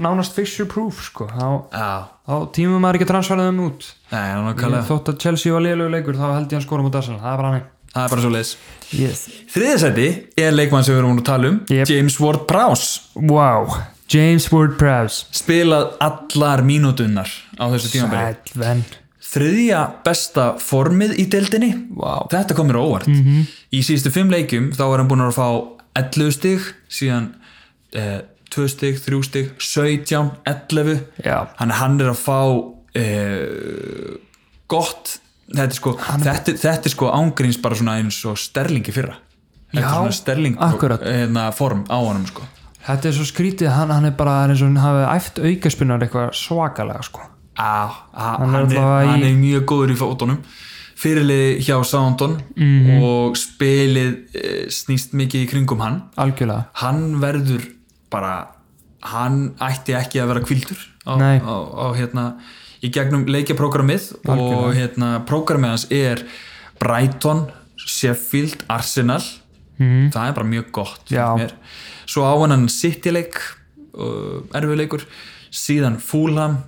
nánast fixture proof sko, þá, Já, þá tímum maður ekki að transferða þeim út nei, hann er ég, nokkulega þótt að Chelsea var liðlegu leikur þá held ég hann skora mútið Arsenal, það er bara hann Það er bara svo leiðis yes. Þriðasæti er leikmann sem við erum búin að tala um Yep. James Ward-Prowse Wow, James Ward-Prowse spilað allar mínútunnar á þessu tímabili Sætven Þriðja besta formið í deildinni Vá. Mhm. Þetta komir óvart Í síðustu fimm leikjum þá er hann búin að fá 11 stig síðan eh, 2 stig, 3 stig, 17, 11 Já. Þannig að hann er að fá eh, gott þetta er, sko, þetta, þetta er sko ángríns bara svona eins og sterlingi fyrra Þetta er Já, svona sterling akkurat. hérna, form á honum sko. Þetta er svo skrítið, hann, hann er bara hann er svo, hann hafi æft aukaspunar eitthvað svakalega sko Á, á, Hann hann, er er, allavega í- hann er mjög góður í fótunum fyrirlið hjá Soundon Mhm. og spilið eh, snýst mikið í kringum hann Algjörlega hann verður bara hann ætti ekki að vera kvildur á, Nei. á, á hérna í gegnum leikjaprógrammið og hérna prógrammið hans er Brighton, Sheffield Arsenal, það er bara mjög gott finnst Mhm. Já. mér. svo á hann hann City-leik erfiðleikur, síðan Fulham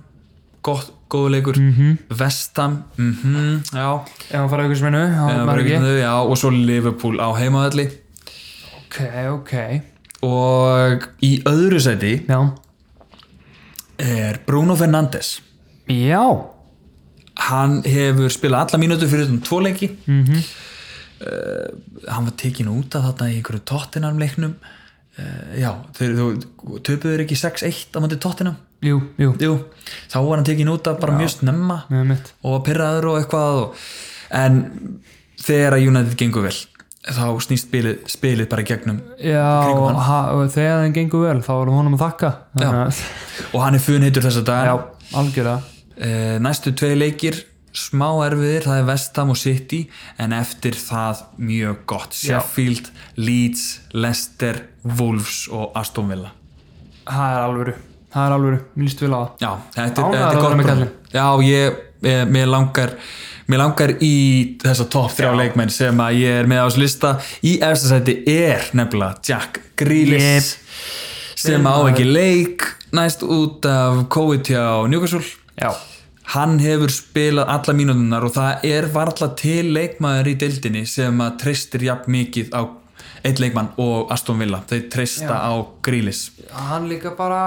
gott, góðuleikur mm Mhm. -hmm. Vestam mm já, Ef hann fara auðvitað sem hennu, eða hann var bara ekki. ekki þau, já, og svo Liverpool á heimaðalli Ok, ok. og í öðru sæti Já. er Bruno Fernandes Já. hann hefur spilað alla mínútu fyrir um tvo leiki mm hann var tekin út af þarna í einhverju tóttinam leiknum uh, já, þeir, þú töpuður ekki 6-1 á mandi tóttinam Jú, jú. Jú, þá var hann tekin út af bara mjög snemma Með mitt. og var pyrraður og eitthvað og, en þegar að United gengur vel þá snýst spilið, spilið bara í gegnum Já, ha, og þegar það gengur vel, þá erum honum að þakka. Þannig að- og hann er funheitur þess að Já, dag algjörlega. Eh, næstu tvei leikir smá erfiðir, það er Vestam og City en eftir það mjög gott Sheffield, Leeds, Leicester Wolves og Aston Villa Það er alvöru. Það er alvöru. Mér líst vel á það. Já, þetta, Ánægður er- þetta að er vera gott með prógram. kallinn. Já, ég, eh, mér langar mér langar í þessa topp þrjá leikmenn sem að ég er með á þessu lista í efstasæti er nefnilega Jack Grealish sem á ekki leik næst út af COVID hjá Newcastle Já. hann hefur spilað alla mínútunar og það er varla til leikmaður í deildinni sem að treystir jafn mikið á eitt leikmann og Aston Villa þeir treysta á grílis Hann líka bara,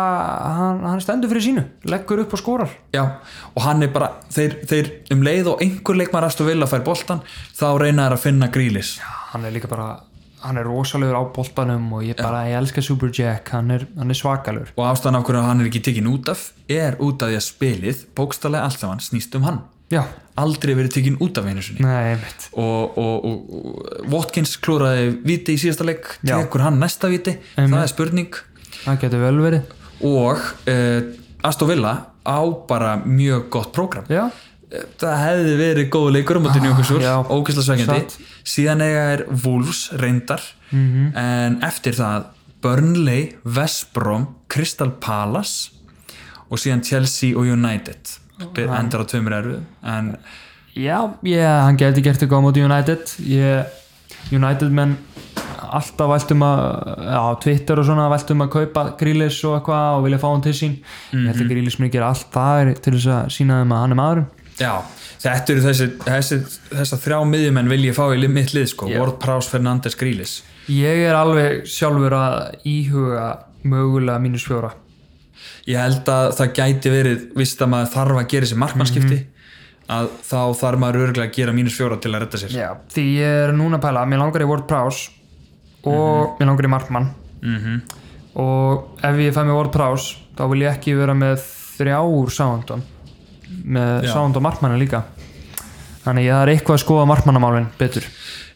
hann, hann stendur fyrir sínu leggur upp og skórar Já, og hann er bara, þeir, þeir um leið og einhver leikmaður Aston Villa fær boltan þá reyna þeir að finna grílis Hann er líka bara, hann er rosalegur á boltanum og ég bara, ég elska Superjack hann er, hann er svakalur og ástæðan af hverju hann er ekki tekin út af er út af því að spilið bókstallega allt saman snýst um hann Já, aldrei verið tekin út af einu sinni nei, einmitt og, og, og, og Watkins klúraði viti í síðasta leik Já. tekur hann næsta viti, það er spurning Það getur vel verið og uh, Aston Villa á bara mjög gott prógram Eh, Já, Ah, það hefði verið góð leikur um að dynja okkur já. ógæsla Satt. Mhm. sveikjandi síðan eiga er Wolves reyndar -hmm. en eftir það Burnley, West Brom Crystal Palace og síðan Chelsea og United það endar á tveimur erfið en já, ég, hann getur gert eitthvað á móti United ég, United menn alltaf veltum að á Twitter og svona veltum að kaupa Grílis og eitthvað og vilja fá hann til sín ég held að Grílis mjög gera allt það er til þess að sína þeim að hann er maðurinn já, þetta eru þessi, þessi þessa þrjá miðjumenn vil ég fá í li- mitt lið sko, Já. Ward Prowse, Fernandes, Grealish Ég er alveg sjálfur að íhuga mögulega mínus fjóra. ég held að það gæti verið vist að maður þarf að gera þessi markmannskipti að þá þarf maður örgulega að gera mínus fjóra til að redda sér Mhm. Já. Því ég er núna að pæla, mér langar í Ward Prowse og Mhm. mér langar í Markmann -hmm. og ef ég fæ mér Ward Prowse þá vil ég ekki vera með þrjá úr Soundon með Já. Sound og Markmanna líka. Þannig ég er eitthvað að skoða Markmannamálin betur.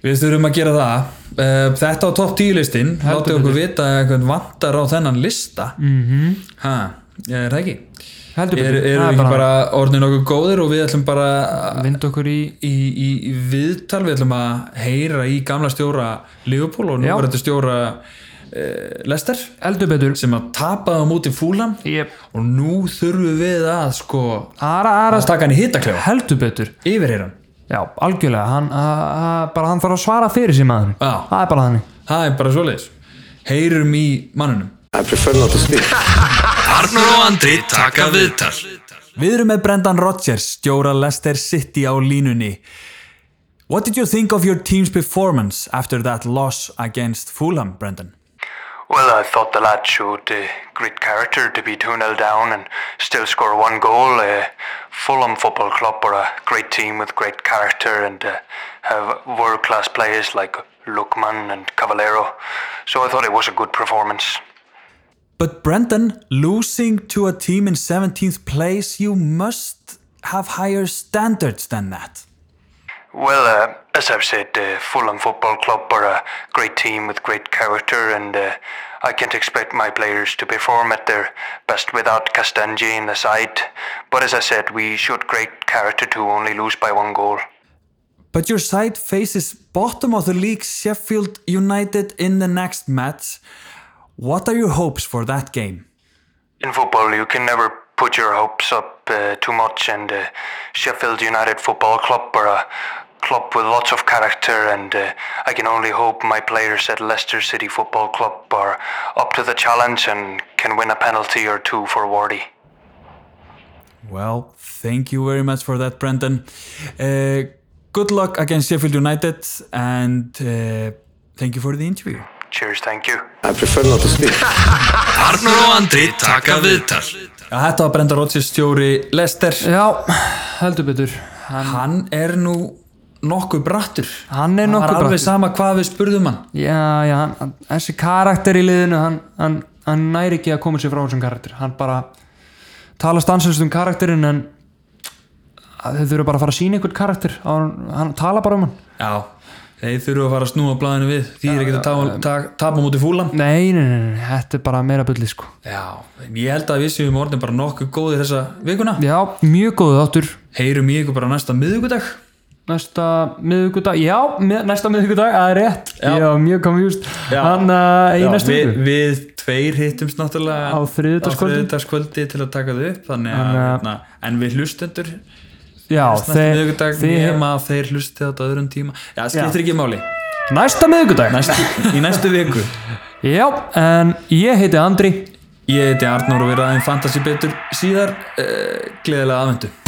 Við þurfum að gera það Eh, Þetta á topp 10 listin Láttu okkur vita ef einhvern vantar á þennan lista mm -hmm. Ha, er það ekki? Mhm. Heldur Er, erum betur. Það við er ekki bara orðin okkur góðir og við ætlum bara Vind okkur í í, í, í viðtal við ætlum að heyra í gamla stjóra Liverpool og nú Já. var þetta stjóra uh, Lester heldur betur. sem að tapaða múti fúlam Yep. og nú þurfum við að sko Ara, ara, að taka hann í hittaklefa heldur betur. yfir hérna Já, algjörlega, hann, a- a- bara hann þarf að svara fyrir sér maður Já. Það er bara þannig Það er bara svoleiðis Heyrum í mannunum I prefer not to speak. Arnur og Andri taka viðtal Við erum með Brendan Rodgers, stjóra Leicester City á línunni What did you think of your team's performance after that loss against Fulham, Brendan? Well, I thought the lad showed uh, great character to be 2 0 down and still score one goal. Uh, Fulham Football Club were a great team with great character and uh, have world class players like Lukman and Cavallero. So I thought it was a good performance. But Brendan, losing to a team in 17th place, you must have higher standards than that. Well, uh, as I've said, uh, Fulham Football Club are a great team with great character, and uh, I can't expect my players to perform at their best without Castanji in the side. But as I said, we showed great character to only lose by one goal. But your side faces bottom of the league Sheffield United in the next match. What are your hopes for that game? In football, you can never put your hopes up uh, too much, and uh, Sheffield United Football Club are a club with lots of character, and uh, I can only hope my players at Leicester City Football Club are up to the challenge and can win a penalty or two for Wardy. Well, thank you very much for that, Brendan. Uh, good luck against Sheffield United and uh, thank you for the interview. Cheers, thank you. I prefer not to speak. Þetta var Brendan Rodgers stjóri Lester. Já, heldur betur Hann, Hann er nú nokkuð brattur. hann Það er er nokkuð alveg brattur. sama hvað við spurðum hann. Já, já, hann, hann- þessi karakter í liðinu hann, hann, hann næri ekki að koma sér frá þessum karakter Hann bara talast ansvöldst um karakterinn en þau þurfa bara að fara að sína einhvern karakter á, hann tala bara um hann Já. Þeir þurfu að fara að snúa blæðinu við. Því er ekki að tapa- ta- tapa mútið fúlam. Nei, nei, nei, nei, þetta er bara meira bulli sko Já. en Ég held að við séum orðin bara nokkuð góðir þessa vikuna. Já, mjög góðu þáttur Heyrum í ykkur bara næsta miðugudag. Næsta miðugudag, já, mið, næsta miðugudag, það er rétt Já. Ég var mjög confused Já. Hann uh, í Já, næstu við, viku við tveir hittumst náttúrulega Á þriðjudagskvöldi. á þriðjudagskvöldi til að taka þau upp þannig að, Þannig að- hérna, en við hlustendur Já, næsta miðvikudag þeir- nema að þeir hlusti þetta á öðrum tíma já, skiptir ekki máli Næsta miðugudag næstu, í næstu viku Já, en ég heiti Andri eh, Ég heiti Arnór og við ræðum fantasy betur síðar. Uh, gleðilega aðvendu.